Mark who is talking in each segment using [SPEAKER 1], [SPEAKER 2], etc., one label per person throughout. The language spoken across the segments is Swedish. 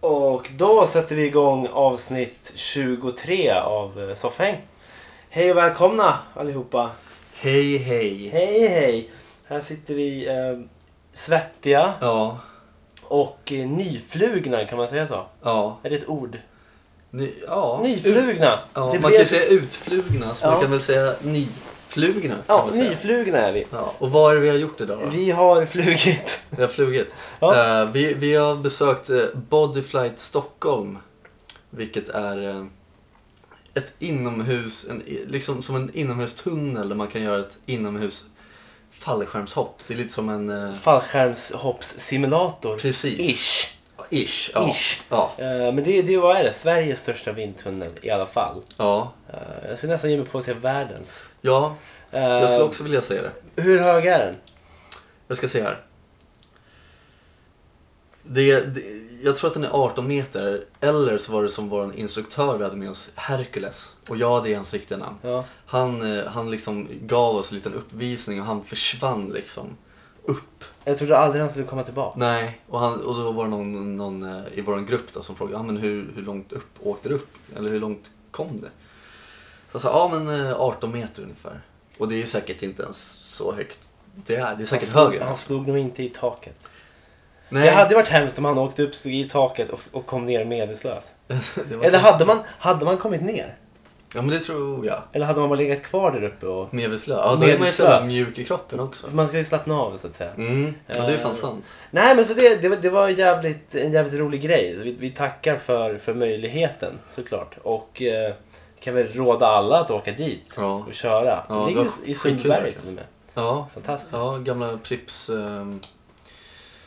[SPEAKER 1] Och då sätter vi igång avsnitt 23 av eh, Soffhäng. Hej och välkomna allihopa.
[SPEAKER 2] Hej hej.
[SPEAKER 1] Hej hej. Här sitter vi eh, svettiga
[SPEAKER 2] Ja,
[SPEAKER 1] och eh, nyflugna kan man säga så?
[SPEAKER 2] ja.
[SPEAKER 1] Är det ett ord?
[SPEAKER 2] Ny, ja.
[SPEAKER 1] Nyflugna.
[SPEAKER 2] ja
[SPEAKER 1] det
[SPEAKER 2] man kan ju säga utflugna, så
[SPEAKER 1] Ja.
[SPEAKER 2] man kan väl säga nyflugna. Kan
[SPEAKER 1] ja,
[SPEAKER 2] man säga.
[SPEAKER 1] nyflugna är vi.
[SPEAKER 2] Ja, och vad är det vi har gjort idag då? Vi,
[SPEAKER 1] Vi har flugit.
[SPEAKER 2] har flugit.
[SPEAKER 1] Ja.
[SPEAKER 2] Eh, vi, vi har besökt eh, Bodyflight Stockholm, vilket är eh, ett inomhus, en, i- liksom som en inomhustunnel där man kan göra ett inomhus fallskärmshopp. Det är lite som en... eh,
[SPEAKER 1] Fallskärmshoppssimulator.
[SPEAKER 2] precis.
[SPEAKER 1] Ish.
[SPEAKER 2] Ish. Ja.
[SPEAKER 1] Ish.
[SPEAKER 2] Ja.
[SPEAKER 1] Eh, Men det, det vad är det? Sveriges största vindtunnel i alla fall.
[SPEAKER 2] ja.
[SPEAKER 1] Eh, Jag skulle nästan ge mig på att säga världens.
[SPEAKER 2] Ja,
[SPEAKER 1] Eh,
[SPEAKER 2] jag skulle också vilja säga det.
[SPEAKER 1] Hur hög är den?
[SPEAKER 2] Jag ska se här. Det, det, jag tror att den är 18 meter, eller så var det som vår instruktör vi hade med oss, Hercules. Och ja, det är hans riktiga namn.
[SPEAKER 1] Ja.
[SPEAKER 2] Han, eh, han liksom gav oss en liten uppvisning och han försvann liksom upp.
[SPEAKER 1] Jag trodde aldrig han skulle komma tillbaka.
[SPEAKER 2] Nej, och, han, och då var det någon, någon eh, i vår grupp då som frågade ah, men hur, hur långt upp åkte det upp? Eller hur långt kom det? Så jag sa, ja ah, men eh, 18 meter ungefär. Och det är ju säkert inte ens så högt det är. Det är säkert
[SPEAKER 1] han, slog,
[SPEAKER 2] högre.
[SPEAKER 1] han slog nog inte i taket.
[SPEAKER 2] Nej.
[SPEAKER 1] Alltså, Det hade varit hemskt om han åkte upp, slog i taket och, och kom ner medvetslös.
[SPEAKER 2] Det var
[SPEAKER 1] Eller
[SPEAKER 2] klart.
[SPEAKER 1] hade man, hade man kommit ner?
[SPEAKER 2] Ja men det tror jag.
[SPEAKER 1] Eller hade man bara legat kvar där uppe och...
[SPEAKER 2] Medvetslös. Ja då är man ju så jävla
[SPEAKER 1] Medvetslös.
[SPEAKER 2] mjuk i kroppen också.
[SPEAKER 1] För man ska ju slappna av så att säga.
[SPEAKER 2] Mm. Ja det är
[SPEAKER 1] Eh.
[SPEAKER 2] fan sant.
[SPEAKER 1] Nej men så det, det, var- det var en jävligt, en jävligt rolig grej. Så vi, vi tackar för, för möjligheten såklart. Och eh, kan väl råda alla att åka dit
[SPEAKER 2] Ja.
[SPEAKER 1] och köra.
[SPEAKER 2] Ja,
[SPEAKER 1] det
[SPEAKER 2] det
[SPEAKER 1] ligger
[SPEAKER 2] var
[SPEAKER 1] ju i
[SPEAKER 2] skitkul
[SPEAKER 1] Sundbyberg
[SPEAKER 2] verkligen.
[SPEAKER 1] till och med.
[SPEAKER 2] Ja.
[SPEAKER 1] Fantastiskt.
[SPEAKER 2] Ja, gamla Pripps ehm,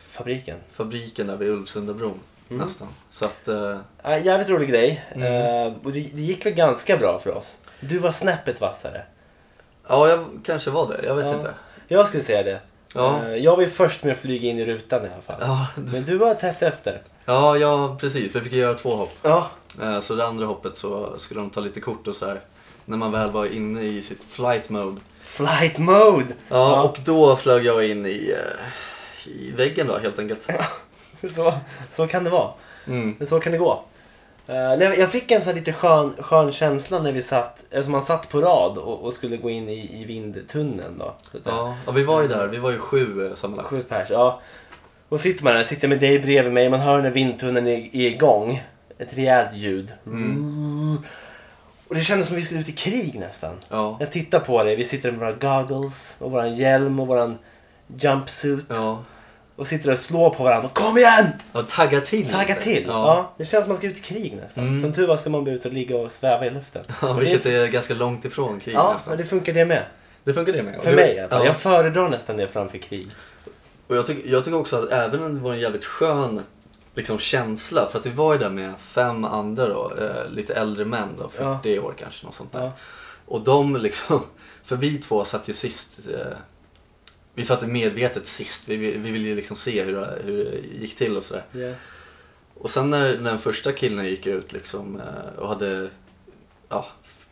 [SPEAKER 1] Fabriken.
[SPEAKER 2] fabriken där vid Ulvsundabron. Nästan. Så att, eh,
[SPEAKER 1] Ja, jävligt rolig grej. Eh, och det, det gick väl ganska bra för oss. Du var snäppet vassare.
[SPEAKER 2] ja jag kanske var det. Jag vet
[SPEAKER 1] Ja.
[SPEAKER 2] inte.
[SPEAKER 1] Jag skulle säga det.
[SPEAKER 2] Ja.
[SPEAKER 1] Eh, jag var ju först med att flyga in i rutan i alla fall.
[SPEAKER 2] Ja,
[SPEAKER 1] Men du var tätt efter.
[SPEAKER 2] ja, ja precis. Vi fick ju göra två hopp.
[SPEAKER 1] Ja.
[SPEAKER 2] Eh, Så det andra hoppet så skulle de ta lite kort och så här. När man väl var inne i sitt flight mode.
[SPEAKER 1] Flight mode!
[SPEAKER 2] Ja, och då flög jag in i, eh, i väggen då helt enkelt.
[SPEAKER 1] Så, så kan det vara.
[SPEAKER 2] Mm.
[SPEAKER 1] Men så kan det gå. Eh, jag jag fick en så här lite skön, skön känsla när vi satt, alltså man satt på rad och, och skulle gå in i, i vindtunneln då. Så att säga.
[SPEAKER 2] Ja, ja, vi var ju där. Vi var ju sju eh, sammanlagt.
[SPEAKER 1] Sju pers, ja. Och sitter man där, sitter med dig bredvid mig, man hör när vindtunneln är, är igång. Ett rejält ljud. Och det kändes som vi skulle ut i krig nästan.
[SPEAKER 2] Ja.
[SPEAKER 1] Jag tittar på dig, vi sitter med våra goggles och våran hjälm och våran jumpsuit.
[SPEAKER 2] Ja.
[SPEAKER 1] Och sitter och slår på varandra. Kom igen!
[SPEAKER 2] ja, tagga till.
[SPEAKER 1] Tagga
[SPEAKER 2] lite.
[SPEAKER 1] till! Ja.
[SPEAKER 2] Ja.
[SPEAKER 1] det känns som man ska ut i krig nästan.
[SPEAKER 2] Mm.
[SPEAKER 1] Som tur var ska man bli ute och ligga och sväva i luften.
[SPEAKER 2] Ja,
[SPEAKER 1] Och
[SPEAKER 2] vilket
[SPEAKER 1] det,
[SPEAKER 2] är ganska långt ifrån krig
[SPEAKER 1] Ja,
[SPEAKER 2] nästan.
[SPEAKER 1] men det funkar det med.
[SPEAKER 2] Det funkar det med.
[SPEAKER 1] För
[SPEAKER 2] Och det-
[SPEAKER 1] mig i alla fall.
[SPEAKER 2] Ja.
[SPEAKER 1] Jag föredrar nästan det framför krig.
[SPEAKER 2] Och jag, tyck, jag tycker också att även om det var en jävligt skön liksom, känsla, för att vi var ju där med fem andra då, eh, lite äldre män då, 40 år kanske, något sånt där.
[SPEAKER 1] Ja.
[SPEAKER 2] Och de liksom, för vi två satt ju sist, eh, vi satt medvetet sist, vi, vi, vi ville ju liksom se hur, det- hur det gick till och sådär. Och sen när, när den första killen gick ut liksom eh, och hade, ja, f-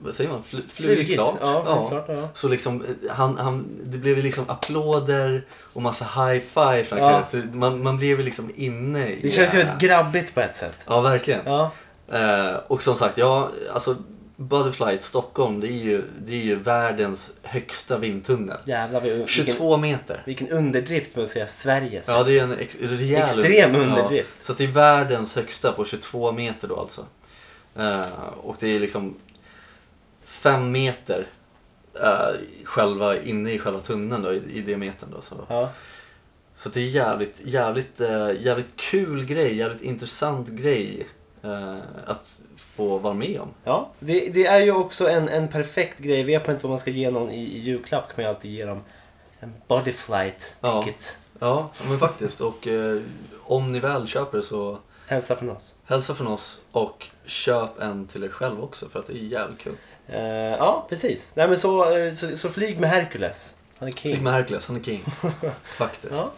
[SPEAKER 2] vad säger man, Fl- flugit klart.
[SPEAKER 1] Ja, flugit klart, ja.
[SPEAKER 2] Så liksom, eh, han, han, det blev ju liksom applåder och massa high-fives. han
[SPEAKER 1] Ja.
[SPEAKER 2] kunde- så Man, man blev ju liksom inne i...
[SPEAKER 1] Det känns ju väldigt grabbigt på ett sätt.
[SPEAKER 2] Ja, verkligen.
[SPEAKER 1] Ja.
[SPEAKER 2] Eh, och som sagt, ja, alltså Butterfly Stockholm, det är, ju, det är ju världens högsta vindtunnel.
[SPEAKER 1] Jävlar vi- vilken,
[SPEAKER 2] 22 meter.
[SPEAKER 1] vilken underdrift med att säga Sverige. så.
[SPEAKER 2] Ja, det är en ex- rejäl
[SPEAKER 1] Extrem
[SPEAKER 2] Ja,
[SPEAKER 1] underdrift.
[SPEAKER 2] så att det är världens högsta på 22 meter då alltså. Eh, och det är liksom 5 meter eh, själva, inne i själva tunneln då, i, i diametern då. Så,
[SPEAKER 1] Ja.
[SPEAKER 2] så att det är jävligt, jävligt, eh, jävligt kul grej, jävligt intressant grej eh, att få vara med om.
[SPEAKER 1] Ja, det, det är ju också en, en perfekt grej. Vet man inte vad man ska ge någon i, i julklapp kan man ju alltid ge dem en bodyflight
[SPEAKER 2] Ja.
[SPEAKER 1] ticket.
[SPEAKER 2] Ja, men faktiskt. Och eh, om ni väl köper så
[SPEAKER 1] Hälsa från oss.
[SPEAKER 2] hälsa från oss och köp en till er själv också för att det är jävligt kul.
[SPEAKER 1] Eh, ja, precis. Nej, men så, eh, så, så flyg med Hercules. Han är king.
[SPEAKER 2] Flyg med Hercules, han är king. Faktiskt.
[SPEAKER 1] Ja.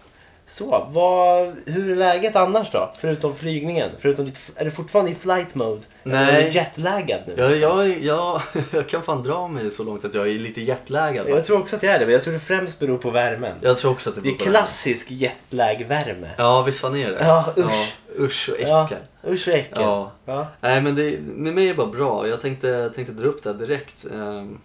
[SPEAKER 1] Så, vad, hur är läget annars då? Förutom flygningen? Förutom ditt, f- är du fortfarande i flight mode?
[SPEAKER 2] Nej.
[SPEAKER 1] Eller Är du jetlaggad nu?
[SPEAKER 2] Jag, jag, jag, jag kan fan dra mig så långt att jag är lite jetlaggad.
[SPEAKER 1] Jag tror också att jag är det, men jag tror det främst beror på värmen.
[SPEAKER 2] Jag tror också att det
[SPEAKER 1] Det
[SPEAKER 2] beror
[SPEAKER 1] är
[SPEAKER 2] på det här.
[SPEAKER 1] klassisk jetlag-värme.
[SPEAKER 2] Ja, visst fan är det
[SPEAKER 1] Ja, usch.
[SPEAKER 2] Ja, Usch och
[SPEAKER 1] Ja.
[SPEAKER 2] äckel.
[SPEAKER 1] Usch och äckel. Ja.
[SPEAKER 2] Ja. Nej men det, med mig är bara bra. Jag tänkte, tänkte dra upp det här direkt. Ehm,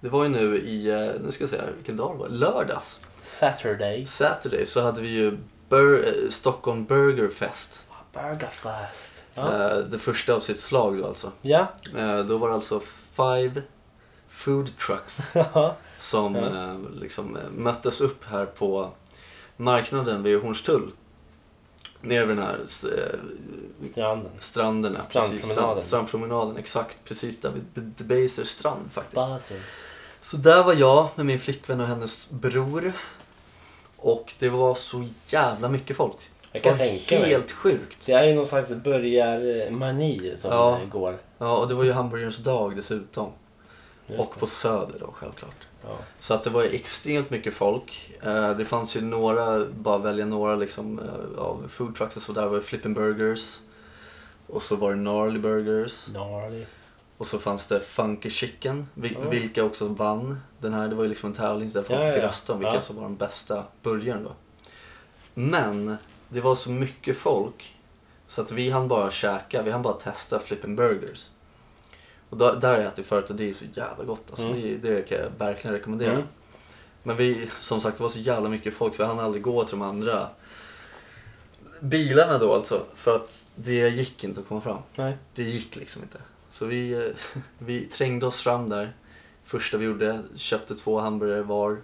[SPEAKER 2] Det var ju nu i, eh, nu ska jag säga, vilken dag det var? Lördags.
[SPEAKER 1] Saturday.
[SPEAKER 2] Saturday så hade vi ju Bur- eh, Stockholm Burger Fest.
[SPEAKER 1] Burgerfest. Ja.
[SPEAKER 2] Eh, Det första av sitt slag då alltså.
[SPEAKER 1] Ja.
[SPEAKER 2] Eh, Då var det alltså five food trucks
[SPEAKER 1] Ja.
[SPEAKER 2] som
[SPEAKER 1] Ja.
[SPEAKER 2] eh, liksom, eh, möttes upp här på marknaden vid Hornstull. Nere vid den här eh,
[SPEAKER 1] Stranden.
[SPEAKER 2] stranden. ja, precis.
[SPEAKER 1] Strandpromenaden.
[SPEAKER 2] Strand- strandpromenaden, exakt. Precis där vid The Baser strand faktiskt.
[SPEAKER 1] Basel.
[SPEAKER 2] Så där var jag med min flickvän och hennes bror. Och det var så jävla mycket folk.
[SPEAKER 1] Jag kan
[SPEAKER 2] det var
[SPEAKER 1] tänka mig.
[SPEAKER 2] helt sjukt.
[SPEAKER 1] Det är ju någon slags börjarmani som eh,
[SPEAKER 2] Ja.
[SPEAKER 1] går.
[SPEAKER 2] Ja, och det var ju hamburgarens dag dessutom.
[SPEAKER 1] Just
[SPEAKER 2] och på Söder då självklart.
[SPEAKER 1] Ja.
[SPEAKER 2] Så att det var extremt mycket folk. Eh, Det fanns ju några, bara välja några liksom, eh, av food trucks och sådär. Det var Flippin' Burgers. Och så var det Gnarly Burgers.
[SPEAKER 1] Gnarly.
[SPEAKER 2] Och så fanns det Funky Chicken, vil-
[SPEAKER 1] Ja.
[SPEAKER 2] vilka också vann den här. Det var ju liksom en tävling där folk
[SPEAKER 1] Ja, ja,
[SPEAKER 2] fick
[SPEAKER 1] ja.
[SPEAKER 2] rösta om vilka
[SPEAKER 1] Ja.
[SPEAKER 2] som var de bästa burgaren då. Men det var så mycket folk så att vi hann bara käka, vi hann bara testa Flippin' Burgers. Och där, där har jag ätit förut och det är så jävla gott alltså.
[SPEAKER 1] Mm.
[SPEAKER 2] Det, det kan jag verkligen rekommendera.
[SPEAKER 1] Mm.
[SPEAKER 2] Men vi, som sagt, det var så jävla mycket folk så vi hann aldrig gå till de andra bilarna då alltså. För att det gick inte att komma fram
[SPEAKER 1] Nej.
[SPEAKER 2] det gick liksom inte. Så vi, eh, vi trängde oss fram där. Första vi gjorde, köpte två hamburgare var.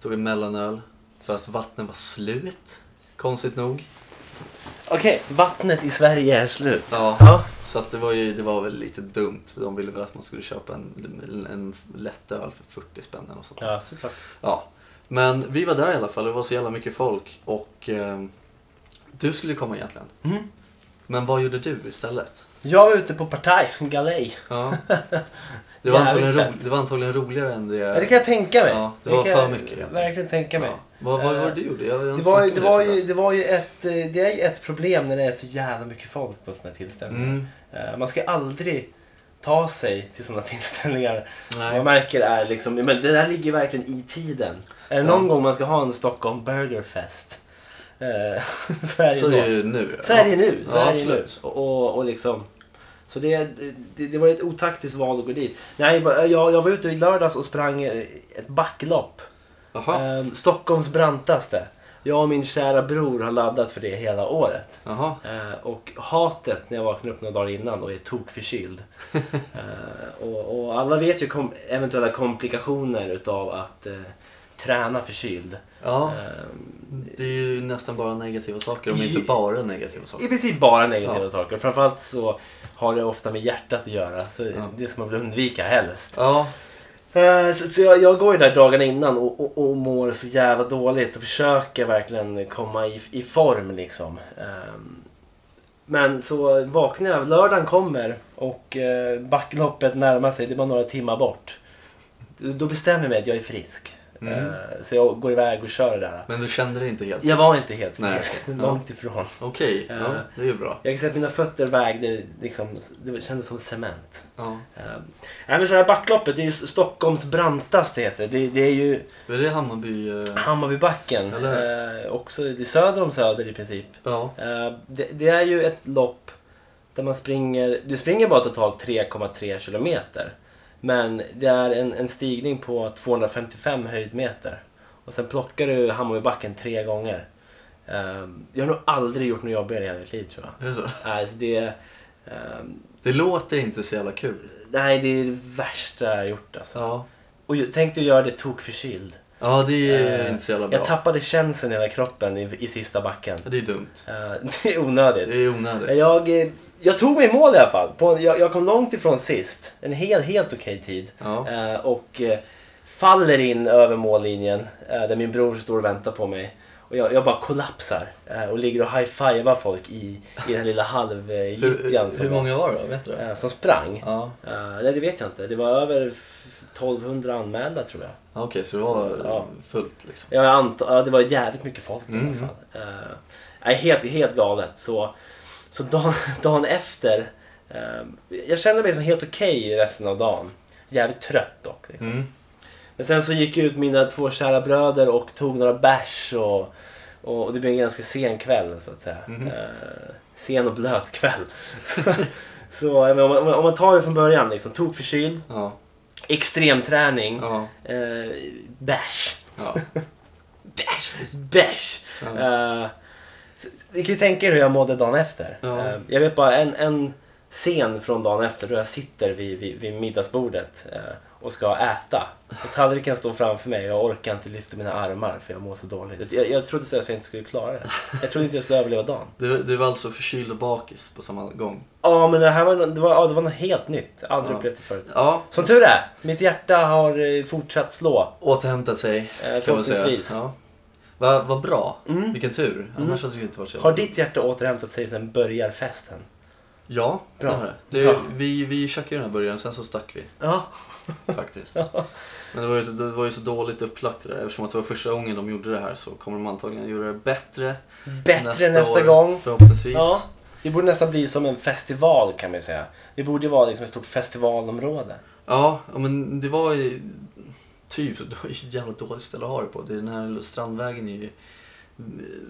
[SPEAKER 2] Tog en mellanöl. För att vattnet var slut. Konstigt nog.
[SPEAKER 1] Okej, vattnet i Sverige är slut.
[SPEAKER 2] Ja.
[SPEAKER 1] Ja.
[SPEAKER 2] Så att det, var ju, det var väl lite dumt. De ville väl att man skulle köpa en, en lätt öl för 40 spänn eller något sånt.
[SPEAKER 1] Ja, såklart.
[SPEAKER 2] Ja. Men vi var där i alla fall. Det var så jävla mycket folk. Och eh, du skulle komma egentligen.
[SPEAKER 1] Mm.
[SPEAKER 2] Men vad gjorde du istället?
[SPEAKER 1] Jag var ute på partaj, galej.
[SPEAKER 2] Ja. Det var,
[SPEAKER 1] Jävligt
[SPEAKER 2] antagligen ro,
[SPEAKER 1] fett.
[SPEAKER 2] det var antagligen roligare än det...
[SPEAKER 1] Ja, det kan jag tänka mig.
[SPEAKER 2] Ja, det var
[SPEAKER 1] kan jag
[SPEAKER 2] för mycket, helt
[SPEAKER 1] Verkligen tänka mig.
[SPEAKER 2] Ja. Vad, vad var det du gjorde? Jag har
[SPEAKER 1] Eh, Det
[SPEAKER 2] inte
[SPEAKER 1] var, ju,
[SPEAKER 2] snackat
[SPEAKER 1] det,
[SPEAKER 2] med
[SPEAKER 1] var
[SPEAKER 2] dig sedan
[SPEAKER 1] ju,
[SPEAKER 2] dess.
[SPEAKER 1] det var ju ett, eh, det är ju ett problem när det är så jävla mycket folk på sådana här tillställningar.
[SPEAKER 2] Mm.
[SPEAKER 1] Eh, Man ska aldrig ta sig till sådana tillställningar. Som
[SPEAKER 2] Nej.
[SPEAKER 1] man märker är liksom, men det där ligger verkligen i tiden. Är det någon
[SPEAKER 2] Ja.
[SPEAKER 1] gång man ska ha en Stockholm Burgerfest eh, så är det
[SPEAKER 2] Så är
[SPEAKER 1] då.
[SPEAKER 2] det ju nu.
[SPEAKER 1] Så är det ju nu. Så
[SPEAKER 2] Ja,
[SPEAKER 1] är det ju nu.
[SPEAKER 2] absolut.
[SPEAKER 1] Och, och, och liksom, så det, det, det var ett otaktiskt val att gå dit. Nej, jag, jag var ute i lördags och sprang eh, ett backlopp.
[SPEAKER 2] Jaha.
[SPEAKER 1] Eh, Stockholms brantaste. Jag och min kära bror har laddat för det hela året.
[SPEAKER 2] Jaha.
[SPEAKER 1] Eh, och hatet när jag vaknar upp några dagar innan och är tokförkyld. eh, och, och alla vet ju kom, eventuella komplikationer utav att eh, träna förkyld.
[SPEAKER 2] Ja,
[SPEAKER 1] Eh,
[SPEAKER 2] det är ju nästan bara negativa saker om
[SPEAKER 1] Ju-
[SPEAKER 2] inte bara negativa saker.
[SPEAKER 1] I princip bara negativa
[SPEAKER 2] Ja.
[SPEAKER 1] saker. Framförallt så har det ofta med hjärtat att göra. Så
[SPEAKER 2] Ja.
[SPEAKER 1] Det ska man väl undvika helst.
[SPEAKER 2] Ja,
[SPEAKER 1] Eh, Så, så jag, jag går ju där dagarna innan och, och, och mår så jävla dåligt och försöker verkligen komma i, i form liksom. Ehm, Men så vaknar jag, lördagen kommer och eh, backloppet närmar sig, det är bara några timmar bort. Då bestämmer jag mig att jag är frisk.
[SPEAKER 2] Mm.
[SPEAKER 1] Eh, Så jag går iväg och kör det där.
[SPEAKER 2] men du kände det inte helt?
[SPEAKER 1] Jag var inte helt
[SPEAKER 2] Nej,
[SPEAKER 1] frisk,
[SPEAKER 2] okej. Ja.
[SPEAKER 1] långt ifrån.
[SPEAKER 2] Okej,
[SPEAKER 1] Eh.
[SPEAKER 2] ja, det är ju bra.
[SPEAKER 1] Jag kan säga att mina fötter vägde, liksom, det kändes som cement.
[SPEAKER 2] Ja.
[SPEAKER 1] Uh, nej men så här backloppet, det är ju Stockholms brantaste heter det. det. Det är ju
[SPEAKER 2] Är det Hammarby? eh,
[SPEAKER 1] Hammarbybacken.
[SPEAKER 2] Eller
[SPEAKER 1] Eh, också, det är söder om Söder i princip.
[SPEAKER 2] Ja.
[SPEAKER 1] Eh, det, det är ju ett lopp där man springer, du springer bara totalt 3,3 kilometer. Men det är en, en stigning på 255 höjdmeter. Och sen plockar du Hammarbybacken tre gånger. Eh, jag har nog aldrig gjort något jobbigare i hela mitt liv tror jag.
[SPEAKER 2] Är det så?
[SPEAKER 1] Alltså det, ehm,
[SPEAKER 2] Det låter inte så jävla kul.
[SPEAKER 1] nej, det är det värsta jag har gjort. Alltså.
[SPEAKER 2] Ja.
[SPEAKER 1] Och jag tänkte göra det tokförkyld.
[SPEAKER 2] Ja, det är
[SPEAKER 1] Eh,
[SPEAKER 2] inte så jävla bra.
[SPEAKER 1] Jag tappade känseln i hela kroppen i, i sista backen.
[SPEAKER 2] Ja, det är dumt.
[SPEAKER 1] Eh, det är onödigt.
[SPEAKER 2] Det är onödigt.
[SPEAKER 1] Jag, eh, jag tog mig i mål i alla fall. På en, jag, jag kom långt ifrån sist. En hel, helt okej tid.
[SPEAKER 2] Ja.
[SPEAKER 1] Eh, och eh, faller in över mållinjen eh, där min bror står och väntar på mig. Och jag, jag bara kollapsar eh, och ligger och high-fivar folk i, i den här lilla halvgyttjan
[SPEAKER 2] Hur,
[SPEAKER 1] som,
[SPEAKER 2] hur många var det då? Vet du det?
[SPEAKER 1] eh, som sprang.
[SPEAKER 2] Ja.
[SPEAKER 1] Eh, nej, det vet jag inte. Det var över f- 1200 anmälda tror jag.
[SPEAKER 2] Ja, Okej, så det var
[SPEAKER 1] Så, ja.
[SPEAKER 2] eh, fullt liksom.
[SPEAKER 1] Jag antar, ja, det var jävligt mycket folk i alla
[SPEAKER 2] Mm.
[SPEAKER 1] fall. Eh, nej, helt, helt galet. Så, så dagen, dagen efter, eh, jag kände mig som helt okej resten av dagen. Jävligt trött dock. Liksom.
[SPEAKER 2] Mm.
[SPEAKER 1] Men sen så gick jag ut mina två kära bröder och tog några bärs och, och, och det blev en ganska sen kväll så att säga.
[SPEAKER 2] Mhm.
[SPEAKER 1] Eh, sen och blöt kväll. så så jag menar, om, man, om man tar det från början, liksom, tok förkyld,
[SPEAKER 2] Ja.
[SPEAKER 1] extremträning,
[SPEAKER 2] Ja.
[SPEAKER 1] eh, bärs.
[SPEAKER 2] Ja.
[SPEAKER 1] Bärs! Bärs!
[SPEAKER 2] Ja.
[SPEAKER 1] Eh, så- Ni kan ju tänka er hur jag mådde dagen efter.
[SPEAKER 2] Ja.
[SPEAKER 1] Eh, jag vet bara en, en scen från dagen efter då jag sitter vid, vid, vid middagsbordet eh, och ska äta. Och tallriken står framför mig och jag orkar inte lyfta mina armar för jag mår så dåligt. Jag, jag trodde så att jag inte skulle klara det. Jag trodde inte jag skulle överleva dagen.
[SPEAKER 2] Du, du var alltså förkyld och bakis på samma gång?
[SPEAKER 1] Ja men det här var, nå- det var, ja, det var något helt nytt. Aldrig
[SPEAKER 2] Ja.
[SPEAKER 1] upplevt det förut.
[SPEAKER 2] Ja.
[SPEAKER 1] Som tur är, mitt hjärta har eh, fortsatt slå.
[SPEAKER 2] Återhämtat sig
[SPEAKER 1] Eh,
[SPEAKER 2] kan man säga.
[SPEAKER 1] förhoppningsvis.
[SPEAKER 2] Ja. Vad va bra.
[SPEAKER 1] Mm.
[SPEAKER 2] Vilken tur. Annars hade det inte varit så.
[SPEAKER 1] Har ditt hjärta återhämtat sig sen börjar festen?
[SPEAKER 2] Ja,
[SPEAKER 1] Bra.
[SPEAKER 2] det har det. det
[SPEAKER 1] Bra.
[SPEAKER 2] Vi, vi käkade ju den här burgaren, sen så stack vi
[SPEAKER 1] Ja.
[SPEAKER 2] faktiskt. Men det var, ju så, det var ju så dåligt upplagt det där. Eftersom att det var första gången de gjorde det här så kommer de antagligen göra det bättre
[SPEAKER 1] Bättre nästa, nästa
[SPEAKER 2] år,
[SPEAKER 1] gång.
[SPEAKER 2] Förhoppningsvis.
[SPEAKER 1] Ja. Det borde nästan bli som en festival kan man ju säga. Det borde ju vara liksom ett stort festivalområde.
[SPEAKER 2] Ja, ja, men det var ju typ, det var ju ett jävla dåligt ställe att ha det på. Det är den här strandvägen är ju...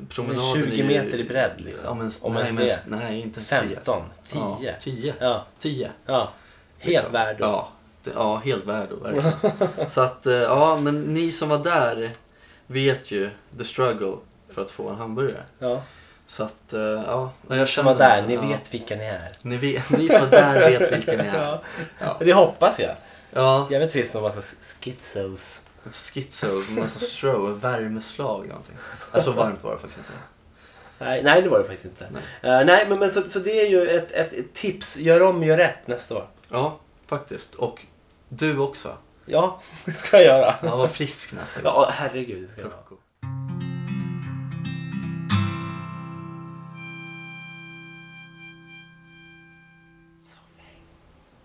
[SPEAKER 2] Promenaden
[SPEAKER 1] Det är 20
[SPEAKER 2] är ju-
[SPEAKER 1] meter i bredd, liksom.
[SPEAKER 2] Ja, men,
[SPEAKER 1] Om
[SPEAKER 2] nej,
[SPEAKER 1] ens
[SPEAKER 2] men,
[SPEAKER 1] det.
[SPEAKER 2] nej, inte ens
[SPEAKER 1] 15, 10.
[SPEAKER 2] Ja, 10.
[SPEAKER 1] Typ Ja.
[SPEAKER 2] 10.
[SPEAKER 1] ja. Helt
[SPEAKER 2] liksom.
[SPEAKER 1] värd att-
[SPEAKER 2] Ja, det, ja helt värd att, verkligen. Så att, eh, ja, men ni som var där vet ju the struggle för att få en hamburgare.
[SPEAKER 1] ja.
[SPEAKER 2] Så att, eh, ja. och Jag
[SPEAKER 1] Som var där, ni
[SPEAKER 2] ja.
[SPEAKER 1] vet vilka ni är.
[SPEAKER 2] Ni, vet, ni som var där vet vilka ni är.
[SPEAKER 1] Ja.
[SPEAKER 2] Ja.
[SPEAKER 1] Det hoppas jag.
[SPEAKER 2] ja.
[SPEAKER 1] Jävligt trist om massa sk- schizos.
[SPEAKER 2] Schizo, massa strå, värmeslag eller någonting. Alltså varmt var det faktiskt inte.
[SPEAKER 1] Nej, nej, det var det faktiskt inte.
[SPEAKER 2] Nej.
[SPEAKER 1] Eh, nej, men, men så, så det är ju ett, ett, ett tips. Gör om, gör rätt nästa år.
[SPEAKER 2] Ja, faktiskt. Och du också.
[SPEAKER 1] Ja, det ska jag göra.
[SPEAKER 2] Ja, var frisk nästa gång.
[SPEAKER 1] Ja, herregud. Det ska jag göra.
[SPEAKER 2] Pucko.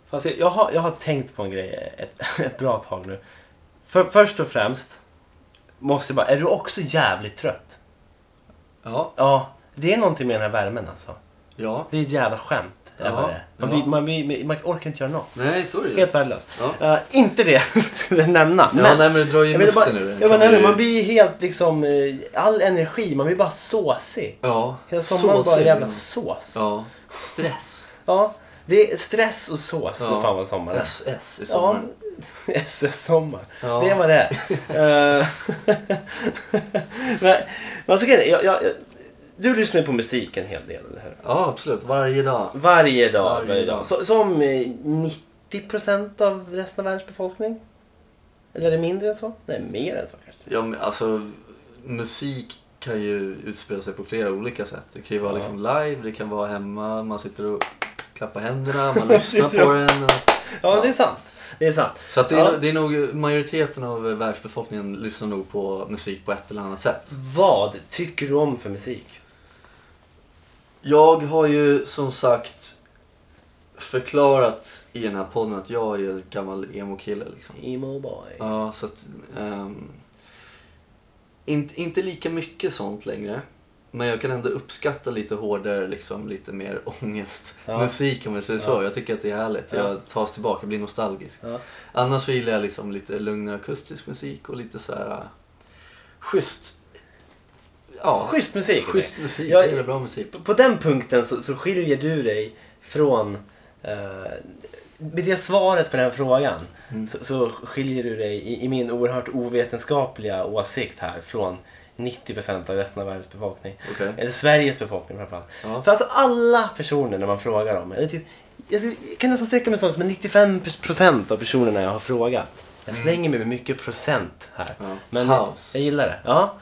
[SPEAKER 1] Fast jag, jag, har, jag har tänkt på en grej ett, ett bra tag nu. För, först och främst måste jag bara, är du också jävligt trött?
[SPEAKER 2] Ja,
[SPEAKER 1] Ja, det är någonting med den här värmen alltså.
[SPEAKER 2] ja.
[SPEAKER 1] Det är ett jävla skämt.
[SPEAKER 2] Ja,
[SPEAKER 1] över det. Man,
[SPEAKER 2] ja.
[SPEAKER 1] blir, man, blir, man orkar inte göra något.
[SPEAKER 2] Nej, så är det ju.
[SPEAKER 1] Helt värdelös.
[SPEAKER 2] Ja.
[SPEAKER 1] Eh, inte det skulle jag nämna.
[SPEAKER 2] Ja,
[SPEAKER 1] men-
[SPEAKER 2] nej men det drar ju i
[SPEAKER 1] jag menar bara,
[SPEAKER 2] luften nu.
[SPEAKER 1] jag menar, man blir helt liksom, eh, all energi, man blir bara såsig.
[SPEAKER 2] Ja.
[SPEAKER 1] Hela sommaren
[SPEAKER 2] så
[SPEAKER 1] bara
[SPEAKER 2] ser
[SPEAKER 1] jävla
[SPEAKER 2] det.
[SPEAKER 1] sås. Ja.
[SPEAKER 2] Ja. Stress.
[SPEAKER 1] det är stress och sås
[SPEAKER 2] Ja.
[SPEAKER 1] är fan vad sommaren är.
[SPEAKER 2] SS i
[SPEAKER 1] Ja,
[SPEAKER 2] sommaren.
[SPEAKER 1] SS-sommar.
[SPEAKER 2] Ja.
[SPEAKER 1] Det var det. Eh, men, men så kan jag, jag, jag, du lyssnar ju på musik en hel del, eller hur?
[SPEAKER 2] Ja, absolut. Varje dag.
[SPEAKER 1] Varje dag.
[SPEAKER 2] Varje
[SPEAKER 1] Varje dag.
[SPEAKER 2] dag.
[SPEAKER 1] Så, som eh, 90% av resten av världens befolkning? Eller är det mindre än så? Nej, mer än så kanske.
[SPEAKER 2] Ja, men alltså musik kan ju utspela sig på flera olika sätt. Det kan ju vara
[SPEAKER 1] Ja.
[SPEAKER 2] liksom live, det kan vara hemma, man sitter och klappar händerna, man lyssnar
[SPEAKER 1] Sitter
[SPEAKER 2] på
[SPEAKER 1] och-
[SPEAKER 2] den. Och...
[SPEAKER 1] Ja, det är sant. Det är sant.
[SPEAKER 2] Så att det, är,
[SPEAKER 1] Ja.
[SPEAKER 2] nog- det är nog majoriteten av världsbefolkningen lyssnar nog på musik på ett eller annat sätt.
[SPEAKER 1] Vad tycker du om för musik?
[SPEAKER 2] Jag har ju som sagt förklarat i den här podden att jag är en gammal emo-kille liksom.
[SPEAKER 1] Emo boy.
[SPEAKER 2] Ja, så att... ehm, inte, inte lika mycket sånt längre. Men jag kan ändå uppskatta lite hårdare, liksom, lite mer ångest.
[SPEAKER 1] Ja.
[SPEAKER 2] Musik om jag säger så.
[SPEAKER 1] Ja.
[SPEAKER 2] Jag tycker att det är härligt.
[SPEAKER 1] Ja.
[SPEAKER 2] Jag tas tillbaka, blir nostalgisk.
[SPEAKER 1] Ja.
[SPEAKER 2] Annars så gillar jag liksom lite lugnare akustisk musik och lite så här... eh, Schysst. Ja,
[SPEAKER 1] Schysst musik. okej.
[SPEAKER 2] schysst musik.
[SPEAKER 1] Jag-
[SPEAKER 2] Jag gillar bra musik.
[SPEAKER 1] Alltså, På- På den punkten så, så skiljer du dig från... eh, med det svaret på den här frågan
[SPEAKER 2] Mm.
[SPEAKER 1] så, så skiljer du dig i, i min oerhört ovetenskapliga åsikt här från 90% av resten av världens befolkning.
[SPEAKER 2] Okej.
[SPEAKER 1] Eller Sveriges befolkning framförallt.
[SPEAKER 2] Ja.
[SPEAKER 1] För alltså alla personer när man frågar dem, eller typ, jag skulle- jag kan nästan sträcka mig så långt, men 95% av personerna jag har frågat. Jag
[SPEAKER 2] Mm.
[SPEAKER 1] slänger mig med mycket procent här.
[SPEAKER 2] Ja.
[SPEAKER 1] Men
[SPEAKER 2] House.
[SPEAKER 1] jag gillar det. Ja.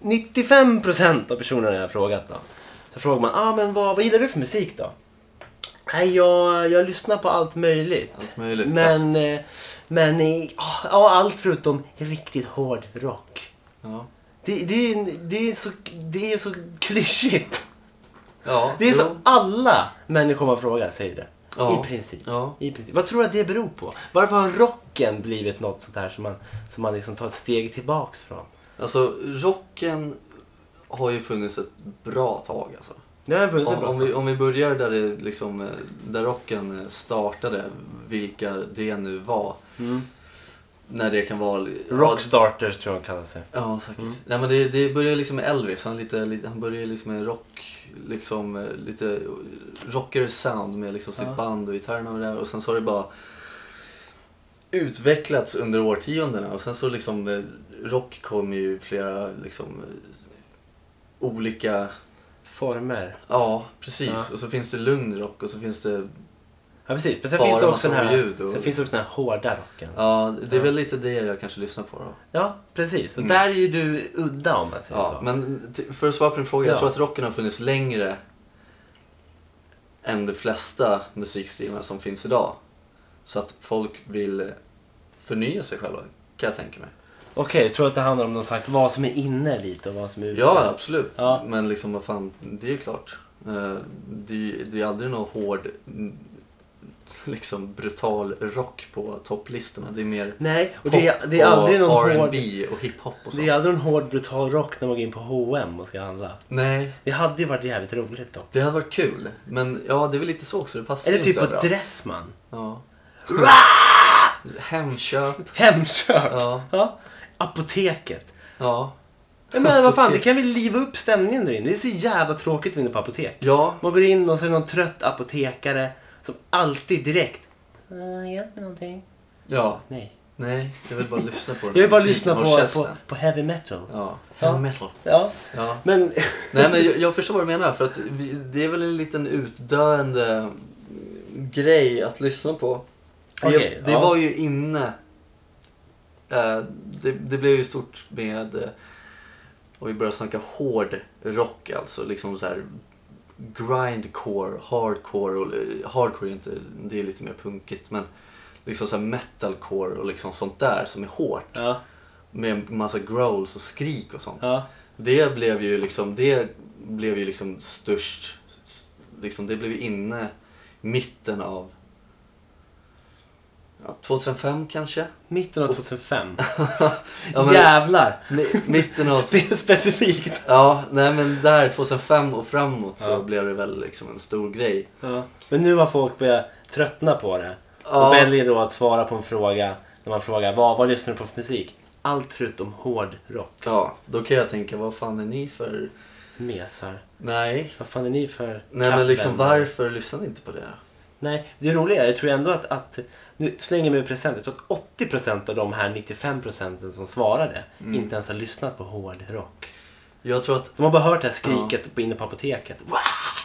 [SPEAKER 1] 95% av personerna jag har frågat då. Så frågar man, ah, men vad, vad gillar du för musik då? Nej, jag, jag lyssnar på allt möjligt.
[SPEAKER 2] Allt möjligt,
[SPEAKER 1] Men, eh, men eh, ja, allt förutom riktigt hård rock.
[SPEAKER 2] Ja.
[SPEAKER 1] Det, det, är, en- det, är, så, det är så klyschigt.
[SPEAKER 2] Ja,
[SPEAKER 1] Det är så
[SPEAKER 2] jo.
[SPEAKER 1] alla människor man frågar säger det.
[SPEAKER 2] Ja.
[SPEAKER 1] I, princip.
[SPEAKER 2] Ja.
[SPEAKER 1] I princip. Vad tror du att det beror på? Varför har rocken blivit något sånt här som man, som man liksom tar ett steg tillbaks från?
[SPEAKER 2] Alltså, rocken har ju funnits ett bra tag alltså.
[SPEAKER 1] Det har funnits ett
[SPEAKER 2] Om,
[SPEAKER 1] bra
[SPEAKER 2] om, vi, om vi börjar där, det liksom, eh, där rocken eh, startade, vilka det nu var.
[SPEAKER 1] Mm.
[SPEAKER 2] när det kan vara...
[SPEAKER 1] Rockstarters tror jag de kallar sig.
[SPEAKER 2] Ja, säkert.
[SPEAKER 1] Mm.
[SPEAKER 2] Nej, men det, det börjar liksom med Elvis. Han, är lite, lite, han börjar liksom med rock, liksom eh, lite rockigare sound med liksom sitt
[SPEAKER 1] Ja.
[SPEAKER 2] band och gitarrerna och det där. Och sen så har det bara utvecklats under årtiondena. Och sen så liksom, eh, rock kom ju i flera liksom eh, olika,
[SPEAKER 1] Former.
[SPEAKER 2] ja precis.
[SPEAKER 1] Ja.
[SPEAKER 2] Och så finns det lugn rock och så finns det,
[SPEAKER 1] Ja precis, men sen
[SPEAKER 2] Bara
[SPEAKER 1] finns det
[SPEAKER 2] massa
[SPEAKER 1] också den här,
[SPEAKER 2] ljud och-
[SPEAKER 1] sen finns det också den här hårda rocken. Ja,
[SPEAKER 2] ja det är
[SPEAKER 1] Ja.
[SPEAKER 2] väl lite det jag kanske lyssnar på då.
[SPEAKER 1] precis. Och
[SPEAKER 2] Mm.
[SPEAKER 1] där är ju du udda om man säger
[SPEAKER 2] Ja,
[SPEAKER 1] så.
[SPEAKER 2] men t- för att svara på din fråga,
[SPEAKER 1] Ja.
[SPEAKER 2] jag tror att rocken har funnits längre än de flesta musikstilarna som finns idag. Så att folk vill förnya sig själva, kan jag tänka mig.
[SPEAKER 1] Okej, jag tror att det handlar om någon slags vad som är inne lite och vad som är ute.
[SPEAKER 2] Ja, absolut.
[SPEAKER 1] Ja.
[SPEAKER 2] Men liksom, vad fan, det är ju klart. Eh, Det är ju det är aldrig någon hård, mm, liksom brutal rock på topplistorna. Det är mer
[SPEAKER 1] Nej, och
[SPEAKER 2] pop
[SPEAKER 1] det är, det är aldrig
[SPEAKER 2] och
[SPEAKER 1] någon hård...
[SPEAKER 2] R&B och hiphop och sånt.
[SPEAKER 1] Det är aldrig någon hård brutal rock när man går in på H&M och ska handla.
[SPEAKER 2] Nej,
[SPEAKER 1] Det hade ju varit jävligt roligt då.
[SPEAKER 2] det hade varit kul. Men ja, det är väl lite så också. Det passar
[SPEAKER 1] Eller
[SPEAKER 2] ju
[SPEAKER 1] typ
[SPEAKER 2] inte
[SPEAKER 1] på
[SPEAKER 2] överallt.
[SPEAKER 1] Dressman.
[SPEAKER 2] Ja. Hemköp.
[SPEAKER 1] Hemköp.
[SPEAKER 2] Ja.
[SPEAKER 1] Ja. Apoteket.
[SPEAKER 2] Ja.
[SPEAKER 1] Ja, Men vad fan, det
[SPEAKER 2] Apotek.
[SPEAKER 1] kan väl liva upp stämningen där inne. Det är så jävla tråkigt att vinna på apotek.
[SPEAKER 2] Ja.
[SPEAKER 1] Man går in och så är det någon trött apotekare som alltid direkt... Uh, hjälp med någonting?
[SPEAKER 2] Ja.
[SPEAKER 1] Nej.
[SPEAKER 2] Nej, jag vill bara lyssna på den
[SPEAKER 1] Jag vill bara
[SPEAKER 2] musiken
[SPEAKER 1] lyssna
[SPEAKER 2] och
[SPEAKER 1] på,
[SPEAKER 2] käften.
[SPEAKER 1] på, på heavy metal.
[SPEAKER 2] Ja.
[SPEAKER 1] Ja.
[SPEAKER 2] Heavy metal.
[SPEAKER 1] Ja,
[SPEAKER 2] Ja.
[SPEAKER 1] men...
[SPEAKER 2] Nej men jag, jag förstår vad du menar för att vi, det är väl en liten utdöende grej att lyssna på. Det,
[SPEAKER 1] Okej,
[SPEAKER 2] det
[SPEAKER 1] ja.
[SPEAKER 2] var ju inne. Eh, det, det blev ju stort med, eh, och vi börjar snacka hård rock alltså, liksom så här grindcore, hardcore, och, eh, hardcore är inte, det är lite mer punkigt men liksom så här metalcore och liksom sånt där som är hårt
[SPEAKER 1] Ja,
[SPEAKER 2] med en massa growls och skrik och sånt.
[SPEAKER 1] ja.
[SPEAKER 2] Det blev ju liksom, det blev ju liksom störst, s- liksom det blev ju inne i mitten av ja, 2005 kanske?
[SPEAKER 1] Mitten av 2005.
[SPEAKER 2] Ja, men,
[SPEAKER 1] Jävlar!
[SPEAKER 2] mi- mitten av,
[SPEAKER 1] Spe- specifikt.
[SPEAKER 2] ja nej men där 2005 och framåt så
[SPEAKER 1] Ja.
[SPEAKER 2] blev det väl liksom en stor grej.
[SPEAKER 1] Ja. Men nu har folk börjat tröttna på det.
[SPEAKER 2] Ja.
[SPEAKER 1] Och väljer då att svara på en fråga. När man frågar vad, vad lyssnar du på för musik? Allt förutom hård rock.
[SPEAKER 2] Ja, då kan jag tänka vad fan är ni för,
[SPEAKER 1] Mesar.
[SPEAKER 2] nej.
[SPEAKER 1] Vad fan är ni för
[SPEAKER 2] Nej men liksom
[SPEAKER 1] kappvändare?
[SPEAKER 2] varför lyssnar ni inte på det?
[SPEAKER 1] Nej, det roliga är, jag tror ändå att, att nu slänger jag mig i present, jag tror att 80% av de här 95% som svarade
[SPEAKER 2] Mm.
[SPEAKER 1] inte ens har lyssnat på hård rock.
[SPEAKER 2] Jag tror att
[SPEAKER 1] De har bara hört det här skriket på, inne på apoteket. Wow!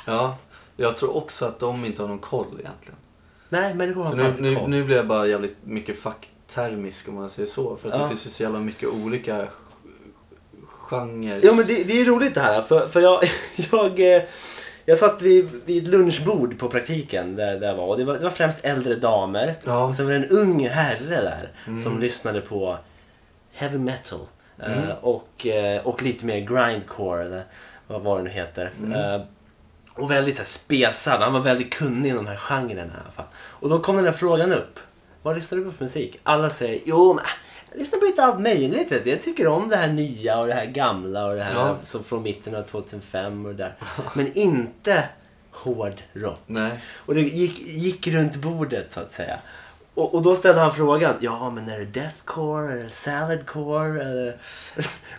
[SPEAKER 2] Ja, jag tror också att de inte har någon koll egentligen.
[SPEAKER 1] Nej, människor har
[SPEAKER 2] För
[SPEAKER 1] fan
[SPEAKER 2] nu,
[SPEAKER 1] inte
[SPEAKER 2] nu,
[SPEAKER 1] koll.
[SPEAKER 2] nu blir jag bara jävligt mycket facktermisk om man säger så. För att
[SPEAKER 1] Ja.
[SPEAKER 2] det finns ju så jävla mycket olika g- genrer.
[SPEAKER 1] Ja, men det, det är roligt det här. För, för jag, jag, eh, jag satt vid, vid ett lunchbord på praktiken där, där jag var. Och det, var det var främst äldre damer.
[SPEAKER 2] Ja.
[SPEAKER 1] Och sen var Alltså, det en ung herre där som lyssnade på heavy metal. eh, Och, eh, och lite mer grindcore eller vad var det nu heter. Eh, Och väldigt så här, spesad. Han var väldigt kunnig inom de här genrerna i alla fall. Och då kom den här frågan upp. Vad lyssnar du på för musik? Alla säger jo men jag lyssnar på lite allt möjligt. Vet du. Jag tycker om det här nya och det här gamla och det här
[SPEAKER 2] Ja.
[SPEAKER 1] som från mitten av 2005 och det där. Men inte hård rock.
[SPEAKER 2] Nej.
[SPEAKER 1] Och det gick, gick runt bordet så att säga. Och, och då ställde han frågan. Ja men är det deathcore eller saladcore eller